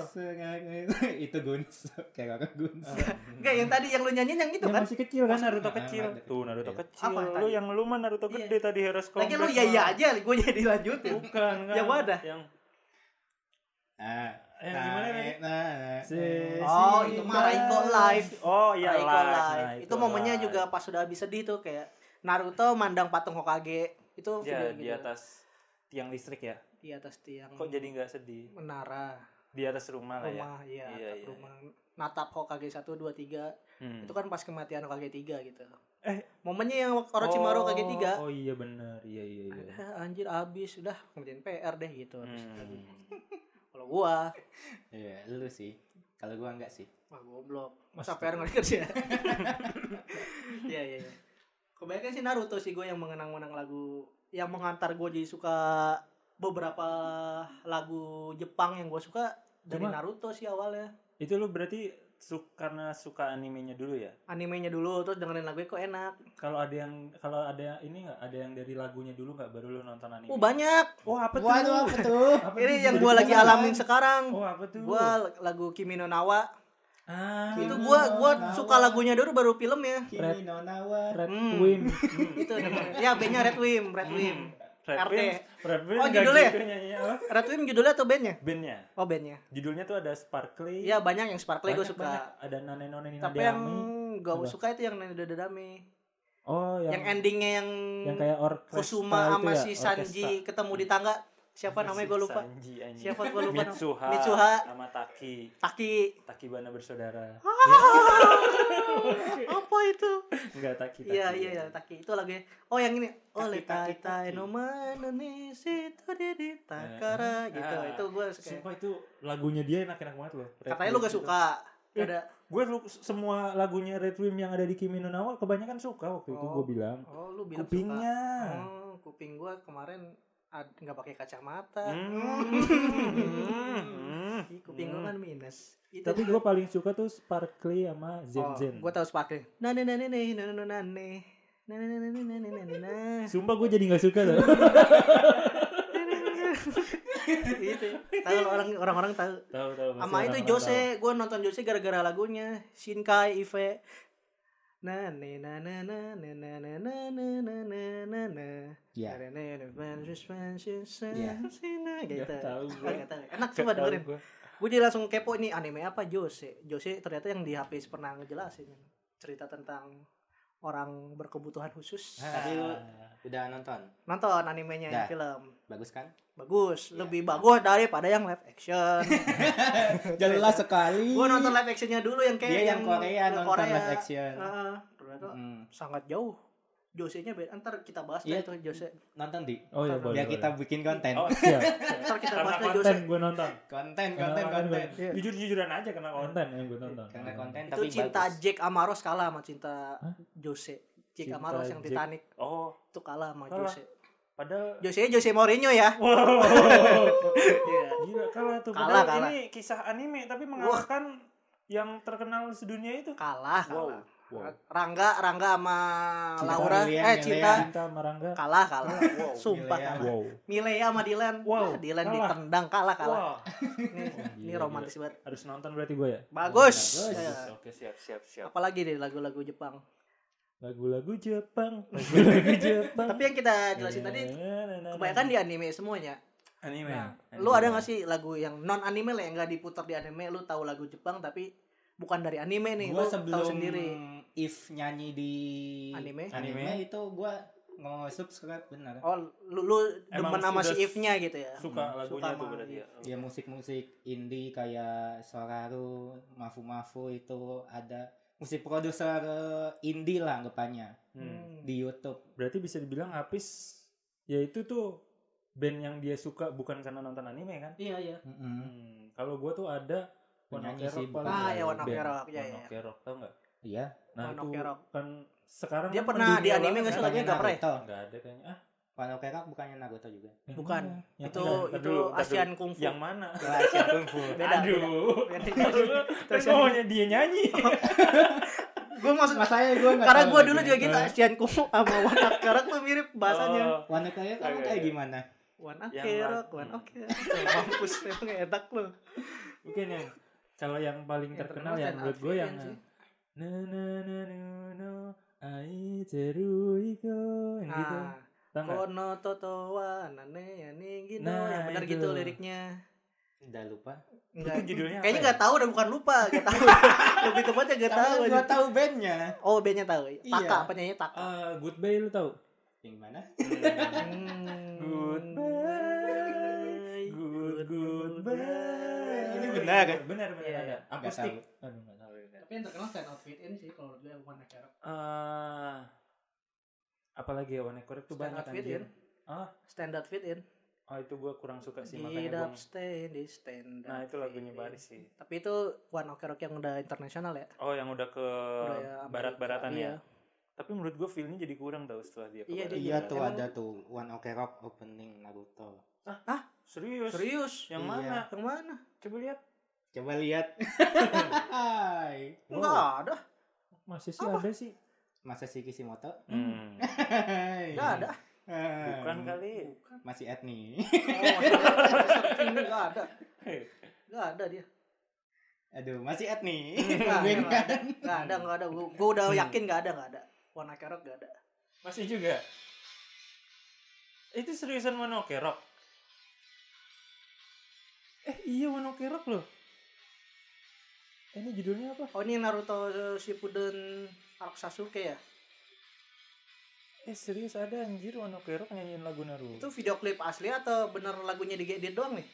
eh, itu guns kayak kakak guns
Eh.
Enggak, yang tadi yang lu nyanyiin yang itu
Yang
kan.
masih kecil kan Naruto
Nah,
kecil.
Naruto
Tuh Naruto
kecil.
kecil.
Iya. Apa
Lu
tadi?
yang lu mah Naruto
Iya.
gede tadi Heroes
Lagi
Comeback.
lu ya ya aja, Iya, gue jadi lanjutin.
Bukan kan.
Yang wadah.
Yang
ah
Yang Eh, gimana tadi?
nah, nah,
Si-
Oh, itu mah Raiko live.
Oh iya
Raiko
live.
live.
Nah,
Itu momennya
live.
juga pas sudah habis sedih tuh kayak Naruto mandang patung Hokage. Itu
Dia Iya, di
video gitu.
atas tiang listrik ya.
Di atas tiang.
Kok jadi nggak sedih?
menara
Di atas rumah lah ya.
rumah iya,
Iya,
atap
iya.
rumah natap Hokage 1 2 3
Hmm.
itu kan pas kematian Hokage 3 gitu.
Eh.
momennya yang Orochimaru Hokage 3
Oh iya benar. Iya iya iya.
Ah, anjir abis udah kemudian PR deh gitu abis
Hmm.
lagi. Kalau gua
iya lu sih kalau gua enggak sih
wah goblok. Masa PR enggak kerja. Iya iya iya. Kebanyakan sih Naruto sih gua yang mengenang-menang lagu yang mengantar gua jadi suka beberapa lagu Jepang yang gua suka dari
Cuma-
Naruto sih awalnya.
Itu lu berarti su- karena suka animenya dulu ya?
Animenya dulu terus dengerin lagu kok enak.
Kalau ada yang kalau ada ini nggak ada yang dari lagunya dulu nggak baru lu nonton anime?
Oh banyak.
Oh apa tuh?
waduh apa tuh
Apa
Ini
tuh?
yang
Dari
gua lagi
kemarin.
alamin sekarang.
Oh apa tuh?
Gua lagu Kimi no Nawa.
ah,
Itu gua gua suka lagunya dulu baru filmnya.
Kimi no nawa
Red
Hmm.
Wim.
Itu dengerin. ya bandnya Red Wim, Red Wim.
Red
RT.
Wim. Red Wim
Oh,
nggak
judulnya?
gitu nyanyinya apa?
Red Wim judulnya atau bandnya?
Bandnya.
Oh bandnya.
Judulnya tuh ada Sparkly.
Ya banyak yang Sparkly
Banyak,
gue suka.
banyak. Ada Nane None Nina
Tapi yang
Deami.
gak
Apa?
suka itu yang Nani Dododami.
Oh yang
Yang endingnya yang,
yang kayak orkestra
Kusuma
itu
sama
ya,
si
orkestra.
Sanji ketemu di tangga. Siapa namanya gue lupa.
Sanji, anjing.
Siapa gue lupa. namanya?
Mitsuha,
Mitsuha.
sama Taki
Taki.
Taki Bana bersaudara
Apa itu?
enggak Taki Taki
Iya iya iya Taki itu lagunya. Oh yang ini. Oh
Taki,
leta
Taki,
eta
Taki.
enomano ni situ diri takara
Eh,
gitu.
ah.
Itu gue suka.
Sumpah itu lagunya dia enak-enak banget loh Red
Katanya
Wim
lu gak
itu.
suka.
Eh,
Ada
Gue lu- semua lagunya Red Wim yang ada di Kimi no Nawa kebanyakan suka waktu itu
Oh.
gue bilang
Oh lu bilang suka.
Kupingnya
Oh, kuping gue kemarin ad- nggak pakai kacamata.
Hmm.
Ih, kuping gue
Hmm.
kan minus. Itu
Tapi gue paling suka tuh Sparkly sama Zen Zen
gue tahu Sparkle. Nane nane nane nane nane nane nane nane nane nane nane
Sumpah gue jadi gak suka loh
nane gitu tahu orang orang orang tahu
Tahu tahu. pasti
sama itu
orang-orang
Jose gue nonton Jose gara-gara lagunya Shinkai Ive na ne na na na na na na na na na na na na
Ya.
Na, na, na, na, na, na, na,
Iya.
na, na,
tahu.
gitu
Nggak tahu
Ah,
gue.
nggak tahu. enak
Nggak
coba
tahu
dengerin
gue.
gue jadi langsung kepo ini anime apa Jose Jose ternyata yang di HP pernah ngejelasin cerita tentang orang berkebutuhan khusus
Ah. Tapi
Eh,
lu- Udah nonton.
nonton animenya yang
Dah.
film
Bagus kan?
bagus
Iya.
lebih bagus daripada yang live action
Jelas sekali.
gue nonton live actionnya dulu yang Ah, kayak
Dia yang Korea
yang
nonton live action.
Heeh, ternyata
Mm.
sangat jauh Jose-nya beda ntar kita bahas
Iya.
deh tuh Jose
Nonton di.
Oh iya boleh.
Biar kita bikin konten.
Oh iya.
ntar kita
Karena
bahas deh Jose
konten gue nonton.
Konten,
Karena
konten, konten.
gua- Jujur-jujuran aja karena konten yang gue nonton.
Karena konten
Iya. itu
Iya. tapi
cinta
bagus.
Jack Amaros kalah sama cinta
Hah?
Jose Jack
Cinta
Amaros yang
Jack.
Titanic
Oh,
itu kalah sama
Kalah.
Jose
padahal
Jose Jose Mourinho ya
Wow.
Iya.
Gila kalah tuh.
Kalah,
Padahal
kalah.
Ini kisah anime tapi mengalahkan yang terkenal sedunia itu.
kalah kalah
Wow.
Rangga Rangga sama
Cinta
Laura
William,
eh cinta
William.
Cinta Marangga.
kalah kalah sumpah
William.
kalah
Wow.
Milea sama Dylan
Wow,
Wah, Dylan
kalah.
ditendang kalah kalah
Wah.
Nih, ini
Gila,
romantis banget
Harus nonton berarti gue ya.
bagus,
Bagus.
Ya.
Oke, siap siap siap.
apalagi deh lagu-lagu Jepang
Lagu-lagu Jepang, lagu-lagu Jepang.
tapi yang kita jelasin tadi
Iya.
kebanyakan di anime semuanya
anime.
Nah, lu ada gak sih lagu yang non anime lah yang gak diputar di anime lu tahu lagu Jepang tapi bukan dari anime nih lu
Gua sebelum
tahu sendiri
If nyanyi di
Anime?
anime,
Anime.
itu gua ngomong subscribe benar.
oh lu, lu
Emang
demen sama si
sudah
If-nya gitu ya
Suka
Hmm,
lagunya
suka
tuh
sama
berarti ya.
Ya musik-musik indie kayak Soraru, Mafu Mafu itu ada musik produser eh, indie lah anggapannya
Hmm.
Hmm.
di YouTube.
Berarti bisa dibilang Apis yaitu tuh band yang dia suka bukan karena nonton anime kan?
iya iya
Mm-mm.
Hmm, Kalau gue tuh ada One Ok
Penyanyi sih,
Rock
bukan
paling.
ah ya
Band.
One Ok Rock ya
One
ya
Ok Rock, tau nggak?
Iya.
Nah
One
itu
Ok Rock.
kan sekarang
Dia
kan
pernah
mendunia
di anime
banget
nggak sih
kan?
lagunya? nggak pernah ya?
Nggak ada kayaknya. Ah,
Pano Kerak bukannya Naruto juga.
yang
Bukan.
mana? Yang
itu
mana? Ntar
itu
dulu, ntar
Asian
dulu.
Kung Fu
Yang mana?
Rahasia Kungfu.
Beda,
Aduh.
beda.
Terus
Terus
kan
yang-
maunya dia nyanyi.
gue maksud
Masanya gua nggak
karena
tahu
gue dulu
lagunya.
juga gitu Asian Kung Fu sama One Ok Rock tuh mirip bahasanya
Oh,
Wano Kerak kamu
Oke,
kayak
oke.
gimana?
One
Yang
Ok
lag-
Rock One
hmm.
Ok Rock mampus emang enak lu
Mungkin yang kalau yang paling
Yang
terkenal
terkenal
yang
Stan
menurut gue
Alfian
yang
sih.
na na na nu no ai teru iko yang gitu.
nah
Tau nggak?
Kono toto wa nane ya ningi no
Nah,
yang benar
itu.
gitu liriknya.
Udah lupa.
Enggak.
Itu judulnya apa
Kayaknya
ya?
nggak tahu dan bukan lupa, nggak tahu. Lebih tepatnya nggak tahu.
Tapi gua tahu bandnya.
Oh, bandnya tahu.
Iya.
Taka, penyanyi Taka.
Ah, goodbye lu tau?
Yang mana?
Hmm.
Goodbye, good goodbye.
Ini benar kan?
Benar benar
Iya,
ada.
iya.
Aku
Nggak
stick.
tahu.
Aduh nggak tahu. ya.
Tapi yang terkenal stand out fit in sih kalau dia bukan acara.
Ah, apalagi ya One Correct tuh
Stand
banyak
Out Fit
anjir.
In.
Ah,
Stand out fit in.
oh itu gue kurang suka sih
Get
makanya
up
gue.
stand is stand
Nah
up
itu lagunya
fit in.
Baris sih.
Tapi itu One Ok Rock yang udah internasional ya.
Oh yang udah ke
Udah ya, Amerika.
barat-baratan ya.
Iya.
Tapi menurut gue feelnya jadi kurang tau setelah dia ke
Iya,
barat.
dia
Iya
Emang-
tuh ada tuh One Ok Rock opening Naruto.
Serius?
Serius.
Yang
Iya.
mana?
Yang mana?
Coba lihat.
Coba lihat. Hai.
Enggak ada.
Masih sih ada sih.
Masa si Kishimoto?
Hmm.
Hai.
Enggak ada.
Hai.
Bukan kali.
Masih etni.
Oh, ini Oh, nggak ada. Nggak ada dia.
Aduh, masih etni.
Hmm, Iya,
Nggak ada, nggak ada. Nggak ada, nggak ada.
Bukan.
Gue gue udah yakin nggak ada, nggak ada. Warna kerok nggak ada.
Masih juga. Itu seriusan One Ok Rock? Eh iya One Ok Rock loh. Eh, ini judulnya apa?
Oh ini Naruto Shippuden Arc Sasuke ya?
Eh serius ada anjir One Ok Rock nyanyiin lagu Naruto.
Itu video klip asli atau bener lagunya diedit doang nih?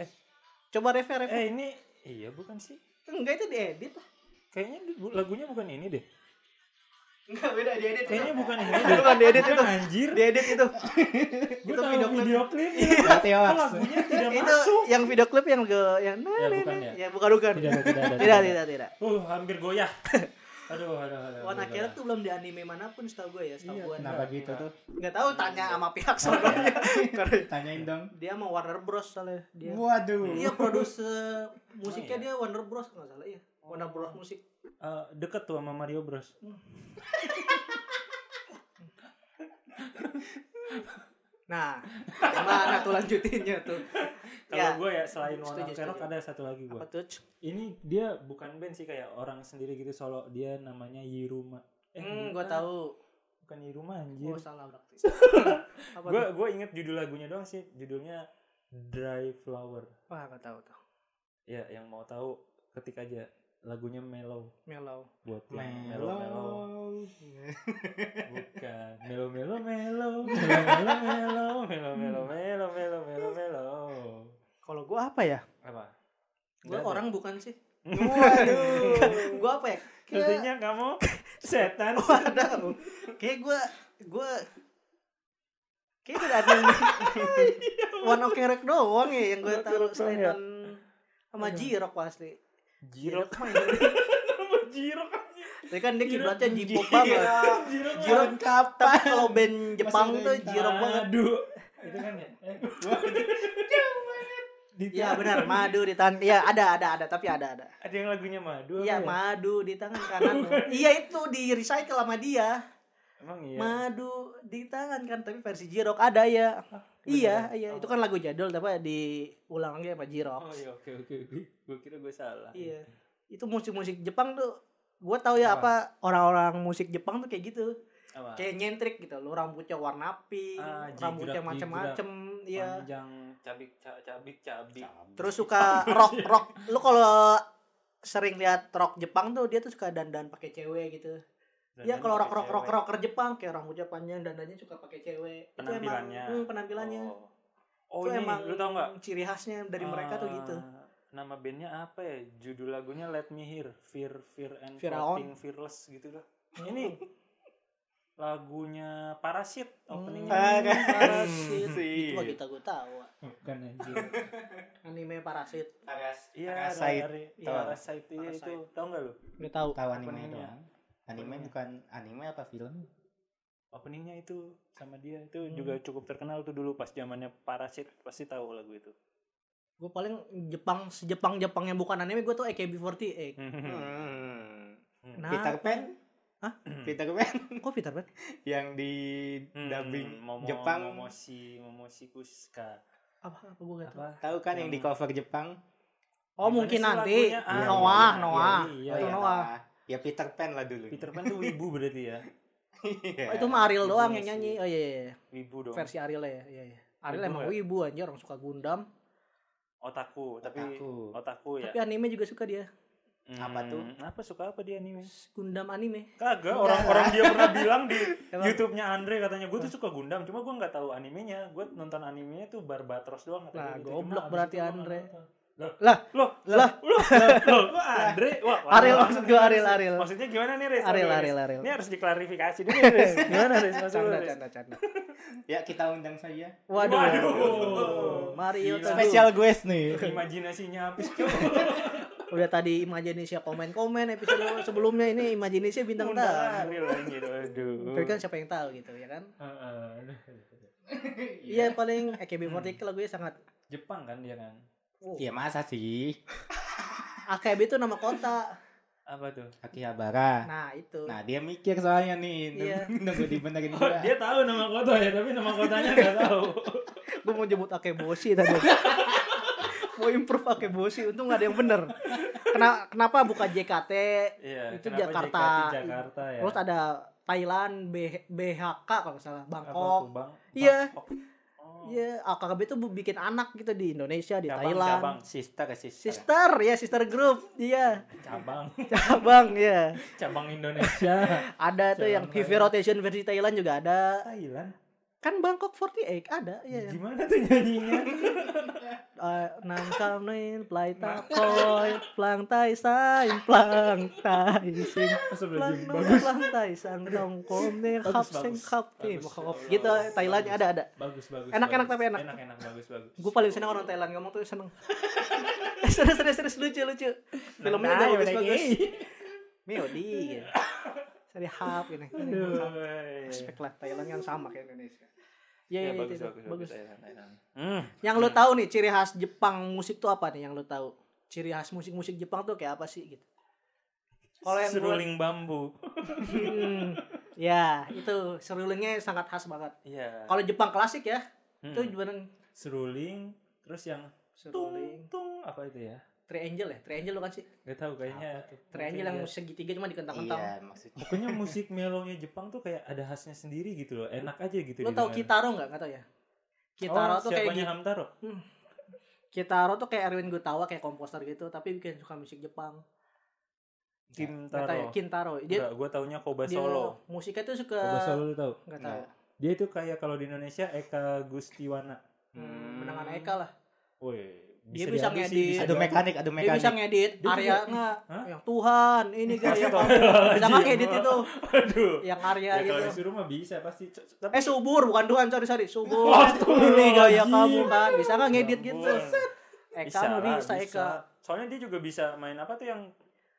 Eh.
Coba refer refer.
Eh ini iya bukan sih?
Enggak itu diedit lah.
Kayaknya di- bu- lagunya bukan ini deh.
Enggak beda diedit.
Kayaknya bukan ini deh.
Bukan diedit
Bukan
itu.
anjir.
Diedit itu.
Gue
itu
tahu
video
video,
klip.
klip.
Berarti
Kok
hoax.
lagunya tidak
itu
masuk.
yang video klip yang ke yang
Ya, bukan ya?
ya bukan bukan.
Tidak, tidak, tidak,
Tidak
tidak.
tidak tidak.
Uh, hampir goyah. Aduh, aduh, aduh.
Warna
aduh, aduh.
kerok tuh belum di anime manapun setahu gue ya,
Iya,
setahu gue.
kenapa? Oh, iya.
Kenapa gitu tuh?
Nggak tahu tanya sama pihak soalnya. Karena
Tanyain dong.
dia sama Warner Bros soalnya dia.
Waduh.
Iya produser musiknya
Oh, iya.
dia Warner Bros nggak salah ya. Warner Bros musik.
Eh, deket tuh sama Mario Bros.
Nah, gimana tuh lanjutinnya tuh?
Kalau
Ya.
gue ya selain One
Setuju,
Ok Rock
setuju.
ada satu lagi gue.
Apa tuh?
Ini dia bukan band sih kayak orang sendiri gitu solo. Dia namanya Yiruma. gue
Hmm, gua tahu.
Bukan Yiruma
Oh,
anjir.
salah berarti. Apa
Gue
tuh?
gue inget judul lagunya doang sih. Judulnya Dry Flower.
Wah, gak tahu tuh.
Ya yang mau tahu ketik aja lagunya mellow
Melow.
buat yang mellow mellow Iya. bukan mellow mellow mellow mellow mellow mellow mellow mellow mellow mellow mellow
Kalau gua apa ya?
apa
Gua
Nggak ada.
orang bukan sih.
Waduh.
Gua apa ya? Kayak- Iya.
Artinya kamu setan.
Waduh. Kayak gue gue kayak tidak ada yang One Ok Rock doang ya yang gue
One Ok
tahu
Rock doang
selain
ya?
on- sama
Aduh.
Jirok pasti.
Jirok
main.
sama Jirok.
Tapi kan dia
Jirok.
kiblatnya J-pop banget.
Iya.
Jirok.
Jirok kapan kalau band Jepang
Masih
tuh
ada yang
Jirok banget.
Aduh. Itu kan ya. Eh, gua- Di
Ya
tangan.
benar, madu di tangan. Ya ada ada ada tapi ada ada.
Ada yang lagunya madu.
Iya
apa ya?
madu di tangan kanan. Iya itu di recycle sama dia.
Emang iya.
Madu di tangan kan tapi versi Jirok ada ya.
beneran?
Iya, iya,
Oh.
itu kan lagu jadul tapi diulang lagi sama Jirok.
Oh iya oke oke oke. Gua kira gue salah.
Iya. Itu musik-musik Jepang tuh gua tahu ya apa orang-orang musik Jepang tuh kayak gitu.
Apa?
Kayak nyentrik gitu. Lu rambutnya warna pink,
Ah, jigrak,
rambutnya
jigrak.
macem-macem, iya.
Panjang cabik ca- cabik cabik.
Terus suka rock rock. Lu kalau sering lihat rock Jepang tuh dia tuh suka dandan pakai cewek gitu.
Dan
Iya
dan
kalau
pakai
rock rock rock
cewek.
rocker Jepang kayak rambutnya panjang dandannya suka pakai cewek. Itu emang-
Penampilannya.
hmm, penampilannya.
Oh. Oh,
itu
ini
emang
lu tau nggak?
ciri khasnya dari mereka tuh gitu.
Ah, Nama bandnya apa ya? Judul lagunya Let Me Hear, Fear, Fear and
Fear
Floating Fearless gitu loh. Ini
Hmm.
lagunya Parasit openingnya.
Ah, kan.
Parasit.
itu lagi tak gua tahu.
Bukan anjir.
Anime Parasit.
Paras.
Iya,
Parasite.
dari-
Iya.
Parasit iya, itu
Parasite.
tau nggak lu?
Gak tahu.
Tahu anime
Openingnya.
doang. Anime
Openingnya.
bukan anime apa film?
Openingnya itu sama dia itu
Hmm.
juga cukup terkenal tuh dulu pas zamannya Parasit pasti tahu lagu itu.
gue paling Jepang sejepang Jepang yang bukan anime gue tuh AKB48
Hmm.
nah
Ah.
Peter Pan?
Hah?
Hmm.
Peter Pan
kok Peter Pan
yang di dubbing
Momo-
Jepang.
Momoshi Momoshi Kusuka.
apa apa gue gak tahu
Apa?
Tahu kan yang di
Yang-
cover Jepang?
oh mungkin
Gimana sih
nanti
lagunya?
Ah,
Noah
iya,
Noah Oh,
iya,
Oh,
Itu
iya.
Noah.
Ya Peter Pan lah dulu.
Peter Pan tuh wibu berarti ya.
Oh, itu mah
Iya
Ariel doang yang
sih.
nyanyi oh iya iya iya.
Wibu dong.
versi Ariel ya iya iya
Wibu
Ariel emang
ya?
wibu aja orang suka Gundam
Otaku, tapi
Otaku.
otaku, ya. Hmm.
tapi anime juga suka dia
Apa tuh?
Apa suka apa dia anime?
Gundam anime
Kagak,
Enggak.
orang-orang dia pernah bilang di
Emang? Nah.
YouTube-nya Andre katanya gue tuh suka Gundam, cuma gue nggak tahu animenya. Gue nonton animenya tuh Barbatros doang katanya.
Lah,
gitu. Cuma
Nah, goblok
abis
berarti
itu gua nggak
Andre.
nonton. Loh,
Lah,
loh,
lah.
loh, loh, loh, kok Andre? Wah, wah,
Ariel
wah.
maksud gue Ariel Ariel
Maksudnya gimana nih, Riz? Aduh,
Ariel
Riz.
Ariel Ariel
Ini harus diklarifikasi dulu, Riz. Gimana, Riz? Maksud lu,
canda
Riz?
canda canda
Ya kita undang saja.
waduh,
Waduh.
Mari
Gila.
yuk teduh.
Special guest nih.
Imajinasinya habis, cuy.
udah tadi Imajinisia komen-komen episode sebelumnya ini Imajinisia bintang
Undang
tamu
Ariel anjir, aduh.
Tapi kan siapa yang tahu gitu ya kan?
Heeh, aduh.
Iya paling AKB48 lagunya sangat
Jepang kan dia kan?
wow.
Ya masa sih?
AKB itu nama kota.
Apa tuh?
Akihabara.
Nah, itu.
Nah dia mikir soalnya nih
Iya.
nunggu, nunggu dibenerin
Oh,
dua.
dia tahu nama kota ya, tapi nama kotanya nggak tahu.
Gue mau jemput Akeboshi tadi. mau improve Akeboshi untung gak ada yang bener. Kena- kenapa buka JKT?
Iya.
Itu
kenapa
Jakarta.
JKT Jakarta ya.
Terus ada Thailand, B- BHK kalau nggak salah,
Apa
Bangkok.
tuh, Bang?
Iya.
Bangkok. Oh.
Iya, AKB itu bikin anak gitu di Indonesia, di
Cabang,
Thailand.
cabang.
Sister ke sister.
Sister, ya sister group, iya.
Cabang,
Cabang, ya.
cabang Indonesia.
Ada tuh
Cabang
yang PV
Thailand.
rotation versi Thailand juga ada.
Thailand.
kan Bangkok 48 ada ya
Gimana tuh nyanyinya?
nam kam nin plai ta koi plang tai sai plang tai sing
Sebelum
plang no
bagus,
plang tai sang dong kom nin
Bagus,
hap sing
bagus.
hap ti
Bagus,
mokop
bagus,
gitu
bagus.
Thailand ada ada
bagus, bagus.
Enak-enak
bagus.
tapi enak.
Enak-enak, bagus, bagus.
gue paling seneng orang Thailand ngomong tuh seneng Eh, serius serius serius lucu lucu filmnya juga
Nah,
bagus bagus
ini.
Meodi gitu sari hap gini
Aduh.
respect lah Thailand kan sama kayak Indonesia
Ya,
Iya, iya,
bagus,
itu-
bagus,
bagus.
bagus. Thailand, Thailand. Hmm.
Yang lu tahu nih ciri khas Jepang musik tuh apa nih yang lu tahu? Ciri khas musik-musik Jepang tuh kayak apa sih gitu? Kalau yang gua-
seruling bambu.
Hmm, ya itu serulingnya sangat khas banget.
Iya.
Kalau Jepang klasik ya, Itu gimana?
Hmm. Seruling, terus yang tung
Seruling.
tung apa itu ya?
Triangle ya? Triangle bukan sih?
Gak tahu kayaknya. tuh.
Triangle yang
Mungkin ya.
segitiga cuma
Iya,
dikentang-kentang.
maksudnya.
Pokoknya musik melonya Jepang tuh kayak ada khasnya sendiri gitu loh. Enak aja gitu.
Lo tau
didengar.
Kitaro nggak? Nggak tau ya? Kitaro
oh,
tuh kayak
siapanya
gitu.
Hamtaro?
Kitaro tuh kayak Erwin Gutawa kayak komposer gitu, tapi bikin suka musik Jepang. Nggak tahu
Kintaro.
ya? Kintaro. Dia,
Enggak, gue taunya Koba
dia
Solo.
musiknya tuh suka
Koba Solo lu tau?
nggak tahu.
Dia itu kayak kalau di Indonesia Eka Gustiwana.
Hmm, menangan Eka lah.
Woi,
Dia bisa
diadu sih,
ngedit.
bisa
Aduh
diadu.
mekanik, aduh
Dia bisa
mekanik.
ngedit
Dia
Arya
juga-
nggak?
Hah?
Yang Tuhan ini gak yang bisa nggak ngedit itu
Aduh.
yang Arya
Ya, kalau
gitu.
disuruh mah bisa pasti. C- c- Tapi
Eh subur bukan Tuhan sorry sorry subur.
Astagfirullahaladzim.
ini gaya kamu kan bisa nggak ngedit gitu?
Ampun.
Set. Eh,
Eh,
kan Eka
bisa,
mau
lah,
bisa Eka
Soalnya dia juga bisa main apa tuh yang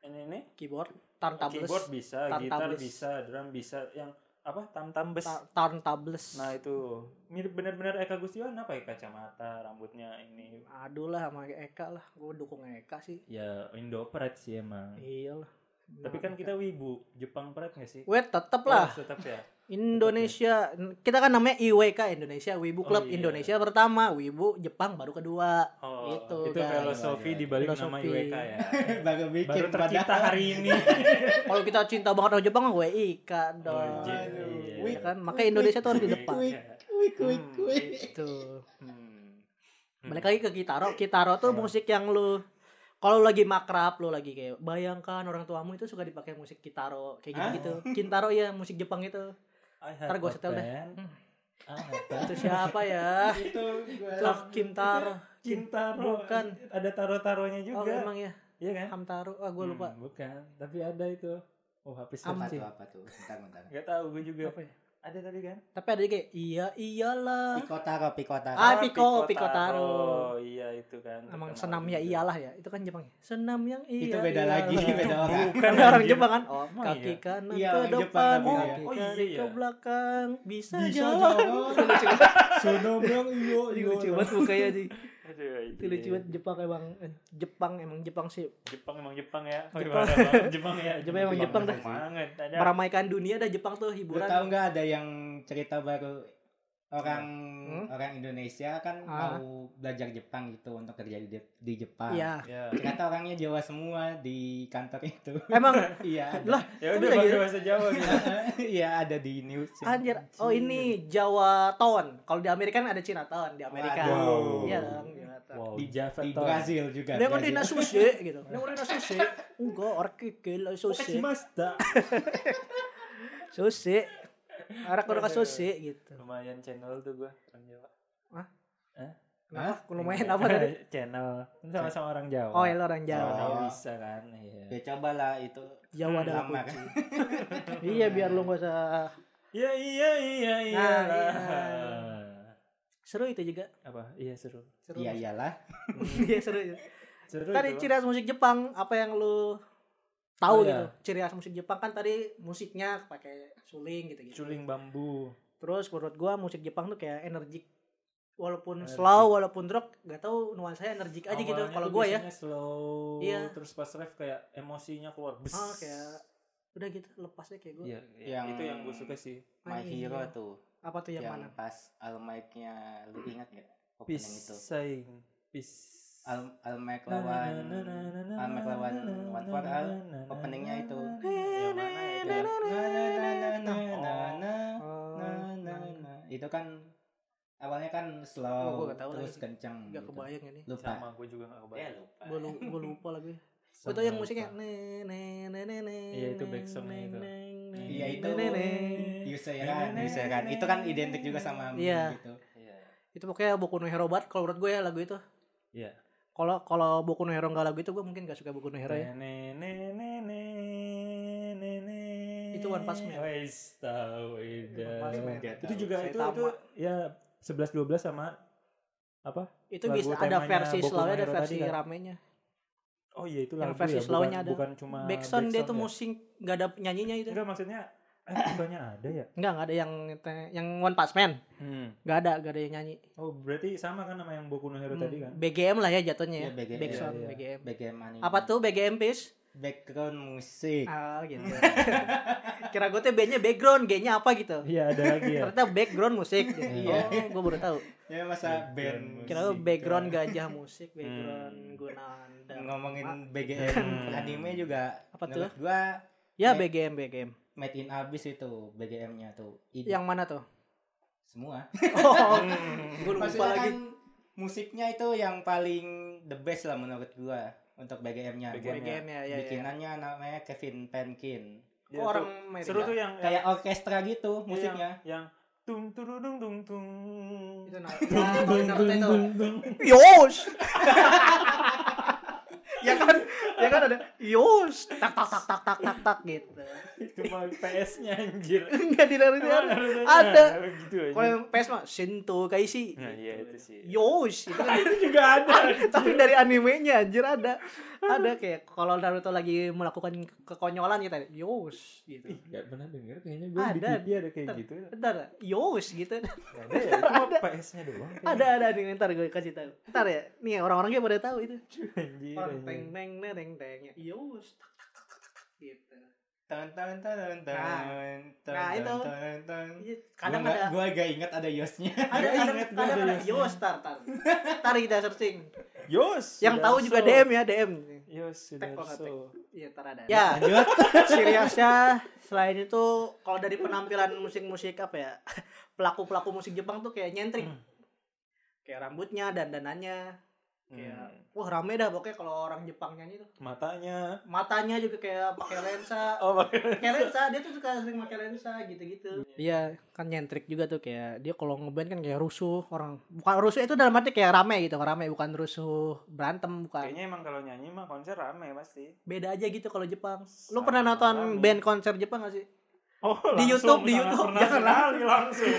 ini ini
keyboard turntables
keyboard bisa,
Tam-tam
gitar
blues.
bisa, drum bisa, yang apa tam tam bes.
Ta- turntables.
Nah itu mirip benar-benar Eka Gustiwana pakai kacamata, rambutnya ini
Aduh lah sama Eka lah, gue dukung Eka sih.
ya Indo Pride sih emang.
Iya lah.
Hmm. Tapi kan kita wibu, Jepang Pride nggak sih?
Wait tetep
Oh,
lah
tetap ya.
Indonesia Kita kan namanya IWK Indonesia
Oh,
Wibu Club
iya.
Indonesia pertama Wibu Jepang baru kedua
Oh,
Itu,
itu
guys.
filosofi di balik nama
Gitu, Filosofi.
IWK ya.
Baru bikin
Baru tercipta
padahal.
hari ini.
Kalau kita cinta banget sama Jepang mah WIK
Oh,
dong
iya.
Iya kan makanya Indonesia tuh harus di depan
Wih, wih, wih,
Hmm.
wih.
Gitu
Hmm. Iya.
Balik lagi ke Kitaro Kitaro tuh musik yang lu kalau lu lagi makrab lu lagi kayak bayangkan orang tuamu itu suka dipakai musik Kitaro kayak gitu gitu Kintaro ya musik Jepang itu
I have
Ntar gua
a
setel deh.
pen. Ah,
Hmm.
I have a
itu siapa ya
Itu gua-
Tuh
Iya.
Kintaro
Kintaro.
Bukan.
Ada taro-taronya
Oh
juga.
emang ya
Iya kan?
Hamtaro ah gue lupa
Hmm, bukan, tapi ada itu. Oh, habis
Am-
apa
sih.
tuh apa tuh bentar bentar
Gak tahu gue juga.
apa ya
Ada tadi kan?
Tapi ada juga kayak iya iyalah.
pikotaro pikotaro
Ah, Pico- Pico Taro.
Oh, iya itu kan.
Emang
Terkenal
senam ya
juga.
iyalah ya. Itu kan Jepang ya. Senam yang iya.
itu beda
iyalah.
lagi beda orang
Bukan
Kan orang
anjir.
Jepang kan.
Oh, emang
Kaki
iya?
kanan
Iya,
ke
orang Jepang
depan,
tapi
ya.
kaki
Oh,
kiri
iya, iya.
ke belakang, bisa,
bisa
jalan.
jawab sono bilang iyo
Ini
iyo
lucu banget mukanya sih.
Aduh, iya,
Itu lucu banget Jepang emang eh, Jepang emang Jepang sih
Jepang emang Jepang ya. Oh,
Jepang.
gimana, Bang? Jepang ya.
Jepang emang Jepang dah.
Banget. Iya.
Ya.
Ada
meramaikan dunia dah Jepang tuh
Lu
hiburan.
tahu nggak ada yang cerita baru orang
Hmm?
orang Indonesia kan
Ah.
mau belajar Jepang gitu untuk kerja di, di Jepang.
Iya.
Ya.
Ternyata orangnya Jawa semua di kantor itu.
Emang
Iya. ada.
lah
Ya
Tapi
udah
lagi-
pakai bahasa Jawa gitu.
Iya ada di news.
anjir. Oh ini Jawa Town. Kalau di Amerika kan ada Cina Town di Amerika.
Waduh.
Iya, dong, Cina Town.
Wow,
Di,
Java
di
Town.
Brazil juga.
Nengok di
Brazil.
nasushi gitu. Nengok di nasushi. Enggak, orang kikil sushi.
Okashimashita.
Sushi. Arah kudu ke sushi gitu.
Lumayan channel tuh gua orang Jawa.
Nah, lumayan apa tadi?
channel. Kan Sama-sama orang Jawa.
Oh, ya lo orang
Jawa.
Jawa.
Oh.
bisa kan. Iya.
Ya cobalah itu
Jawa adalah
lama kan.
kunci. Iya, biar lu gak usah
Iya iya iya iya.
iya. seru itu juga.
Apa? Iya seru.
Seru.
Iya iyalah.
Iya, seru itu.
Seru.
Tadi
itu.
ciri khas musik Jepang apa yang lu tahu
Oh, iya.
gitu? Ciri khas musik Jepang kan tadi musiknya pakai suling gitu-gitu.
Suling bambu.
Terus menurut gua musik Jepang tuh kayak energik walaupun
Energik.
slow walaupun rock gak tahu nuansanya energik aja gitu
Awalnya
kalau
tuh
gua ya
biasanya slow.
Iya.
Terus pas ref kayak emosinya keluar. Bes.
ah kayak udah gitu lepasnya kayak gue
Iya, iya.
Yang-
itu yang gue suka sih.
My
Anjing,
Hero Ya.
iya.
tuh
apa tuh yang,
yang,
mana
pas almic-nya lu ingat gak? Opening itu.
Pisaing. Pis.
Al almic lawan
Nah,
Almek lawan One For All, openingnya itu.
Yang mana ya?
Na, na, na, na, na, na,
Oh,
na, na, na. Nah, itu kan awalnya kan
Oh,
slow
gua nggak tahu
terus
lagi.
kenceng
nggak
gitu.
kebayang ini
lupa
Sama gue juga gak
ya
kebayang.
lupa
gue lu, gua lupa lagi gue
Sama
tau yang
lupa.
musiknya ne ne ne ne ne
Iya, itu
ne,
back songnya
ne,
itu.
ne,
Nah,
ne,
Iya,
ne,
itu.
ne, ne. Nah,
Yuseran, Yuseran. itu kan
nah,
identik juga sama
Iya.
gitu
Iya.
itu pokoknya Boku no Hero banget kalau menurut gue ya lagu itu
Iya.
kalau kalau Boku no Hero nggak lagu itu gue mungkin gak suka Boku no Hero ya
Nah,
Itu One Punch Man.
Wes, nah, tahu, Ida.
One Punch Man.
Itu juga
Saya
itu
tamat.
itu ya 11 12 sama apa?
itu
Lagu
bisa ada
temanya
versi
Boku no
slownya ada
Hero
versi
tadi kan?
ramenya
Oh iya itu
Yang
lagu
versi
ya, bukan,
slow-nya ada.
bukan cuma
back sound dia
backsound
tuh
ya? Iya.
musik nggak ada nyanyinya itu
Enggak maksudnya eh bukannya ada ya?
nggak nggak ada yang yang One Punch Man nggak ada nggak ada yang nyanyi
Oh, berarti sama kan sama yang Boku no Hero
Hmm,
tadi kan?
BGM lah ya jatuhnya ya
Iya, BGM.
back sound
Iya, iya.
BGM
bagaimana
apa tuh BGM Pis
background musik
Ah gitu. Kira gue tuh bandnya background, G-nya apa gitu.
Iya ada lagi ya.
Ternyata background musik. Gitu.
Iya.
Oh, gue baru tahu.
ya masa
Background
band gitu.
musik.
Kira gue
Musik,
background
coy.
gajah musik, background
iya. Hmm.
gunaan dan
ngomongin BGM anime juga
Apa tuh?
menurut gua
ya
Nek.
BGM BGM.
made in abyss itu BGM-nya tuh Id-
Yang mana tuh?
semua
Oh, gue lupa
maksudnya
lagi.
kan musiknya itu yang paling the best lah menurut gua untuk BGM-nya
BGM -nya.
BGM ya,
Iya,
ya, ya.
bikinannya namanya Kevin Penkin
Dia Iya, tuh
Oh, orang
seru
Medan.
tuh ya. yang
kayak orkestra gitu musiknya
yang tung turudung tung tung.
itu nah,
Tung,
ya,
tung,
Naruto
tung,
itu.
tung, tung.
Yos. ya kan, ya kan ada Yos, tak tak tak tak tak tak tak gitu.
Cuma PS-nya anjir.
Enggak di Naruto
Emang
ada.
Naruto-nya?
Ada.
Nah, gitu aja.
Kalau yang PS mah Shinto Kaishi.
Nah, iya itu sih.
Yos, itu kan
Itu juga ada.
tapi dari animenya anjir ada ada kayak kalau Naruto lagi melakukan ke- kekonyolan gitu ada, yos gitu
Ih, gak pernah denger kayaknya gue di
Ada.
TV ada kayak gitu.
ntar yos gitu
Gak ada ya, itu mah PS-nya doang. kayaknya.
ada ada anime ntar gue kasih tahu ntar ya nih orang-orangnya pada tahu itu
gitu, Anjir.
orang
anjir.
teng teng teng teng teng ya, yos tak tak tak tak tak, tak gitu
Tan, tan, tan, tan, tan,
Nah.
tan,
Nah,
tan,
itu.
tan, tan.
Iya,
Gua
kadang
nggak-
ada
gua gak inget ada yosnya Iya.
ada
Gua
kadang
inget gua
kadang
ada
ada
yosnya.
yos tar tar tar kita searching
Yos.
yang
sudah
tahu juga
so.
DM ya DM
Yos, sudah
Tag banget,
so.
Iya, ntar ada. Ya,
lanjut
seriusnya selain itu kalau dari penampilan musik-musik apa ya pelaku-pelaku musik Jepang tuh kayak nyentrik kayak rambutnya dandanannya kayak
Hmm.
wah rame dah pokoknya kalau orang Jepang nyanyi tuh
Matanya.
matanya juga kayak pakai lensa
Oh, makanya.
pakai lensa dia tuh suka sering pakai lensa gitu-gitu iya kan nyentrik juga tuh kayak dia kalau ngeband kan kayak rusuh orang bukan rusuh itu dalam arti kayak rame gitu rame bukan rusuh berantem bukan
Kayaknya emang kalau nyanyi mah konser rame pasti.
beda aja gitu kalau Jepang lu
Sama
pernah nonton
rame.
band konser Jepang gak sih
Oh,
Di YouTube, di YouTube.
Jangan
Jangan
sekali langsung.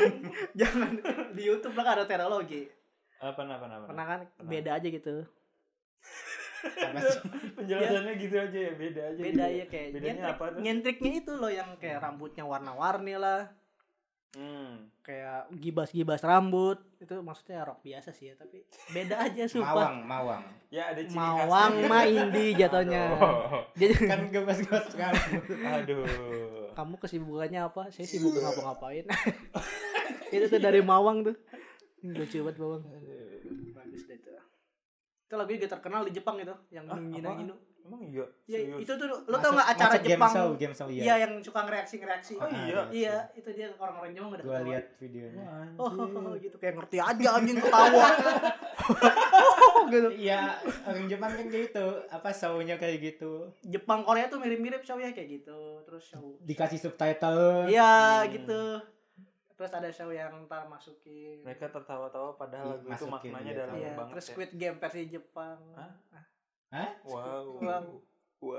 jangan di YouTube lah kan ada terologi
apa apa apa?
pernah kan beda aja gitu
Apa sih?
Penjelasannya gitu aja ya, beda aja.
beda
gitu
ya kayak
Bedanya
nyentrik,
apa tuh?
nyentriknya itu loh yang kayak rambutnya warna-warni lah
Hmm.
kayak gibas-gibas rambut itu maksudnya rock biasa sih ya tapi beda aja sumpah
mawang mawang
Ya ada ciri khasnya
mawang
gitu.
mah indie jatuhnya
Aduh.
jadi
kan gebas gebas kamu
Aduh.
kamu kesibukannya apa saya sibuk ngapa-ngapain itu tuh dari mawang tuh lucu banget mawang bagus deh itu itu lagu juga terkenal di Jepang itu yang
Ah,
Nungina
apaan?
Ginu
Emang iya?
ya
Serius?
itu tuh lo tau nggak
Masuk-
acara
masuk
Jepang
game show game show
Iya
iya ah, gitu.
yang suka ngereaksi-ngereaksi.
Oh, iya.
Iya, itu dia orang-orang Jepang udah
gua
ketawa.
lihat videonya
Wah, anjir.
Oh, gitu kayak ngerti aja anjing ketawa. gitu.
Iya, orang Jepang kan kayak gitu, apa show-nya kayak gitu.
Jepang Korea tuh mirip-mirip show ya kayak gitu. Terus show.
Dikasih subtitle.
Iya,
Hmm.
gitu. Terus ada show yang ntar masukin.
Mereka tertawa-tawa padahal
Iya,
lagu itu
masukin
maknanya
dia
dalam
tahu
Iya,
banget
terus
ya.
Squid Game versi Jepang.
Hah?
Hah?
Wow.
Uang.
Wow.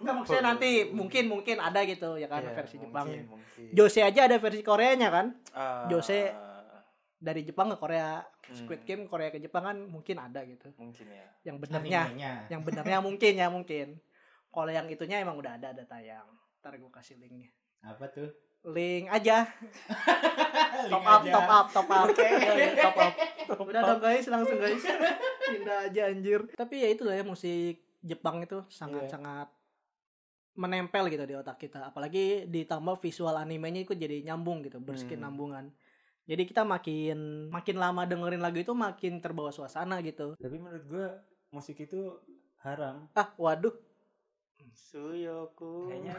Enggak maksudnya nanti mungkin mungkin ada gitu ya kan
Iya,
versi
mungkin,
Jepang.
mungkin.
Jose aja ada versi Koreanya kan?
Ah,
Jose. Dari Jepang ke Korea.
Hmm.
Squid Game Korea ke Jepang kan mungkin ada gitu.
Mungkin ya.
Yang benernya
Animenya.
yang benernya mungkin ya mungkin kalau yang itunya emang udah ada ada tayang ntar gue kasih linknya
Apa tuh?
link aja top
Link
up
aja.
top up top up
Oke.
Yoi, top up udah dong guys langsung guys pindah aja anjir tapi ya itulah ya musik Jepang itu sangat sangat menempel gitu di otak kita apalagi ditambah visual animenya itu jadi nyambung gitu berskin
Hmm.
nambungan jadi kita makin makin lama dengerin lagu itu makin terbawa suasana gitu
Tapi menurut gua musik itu haram.
ah waduh
Suyoku.
Kayaknya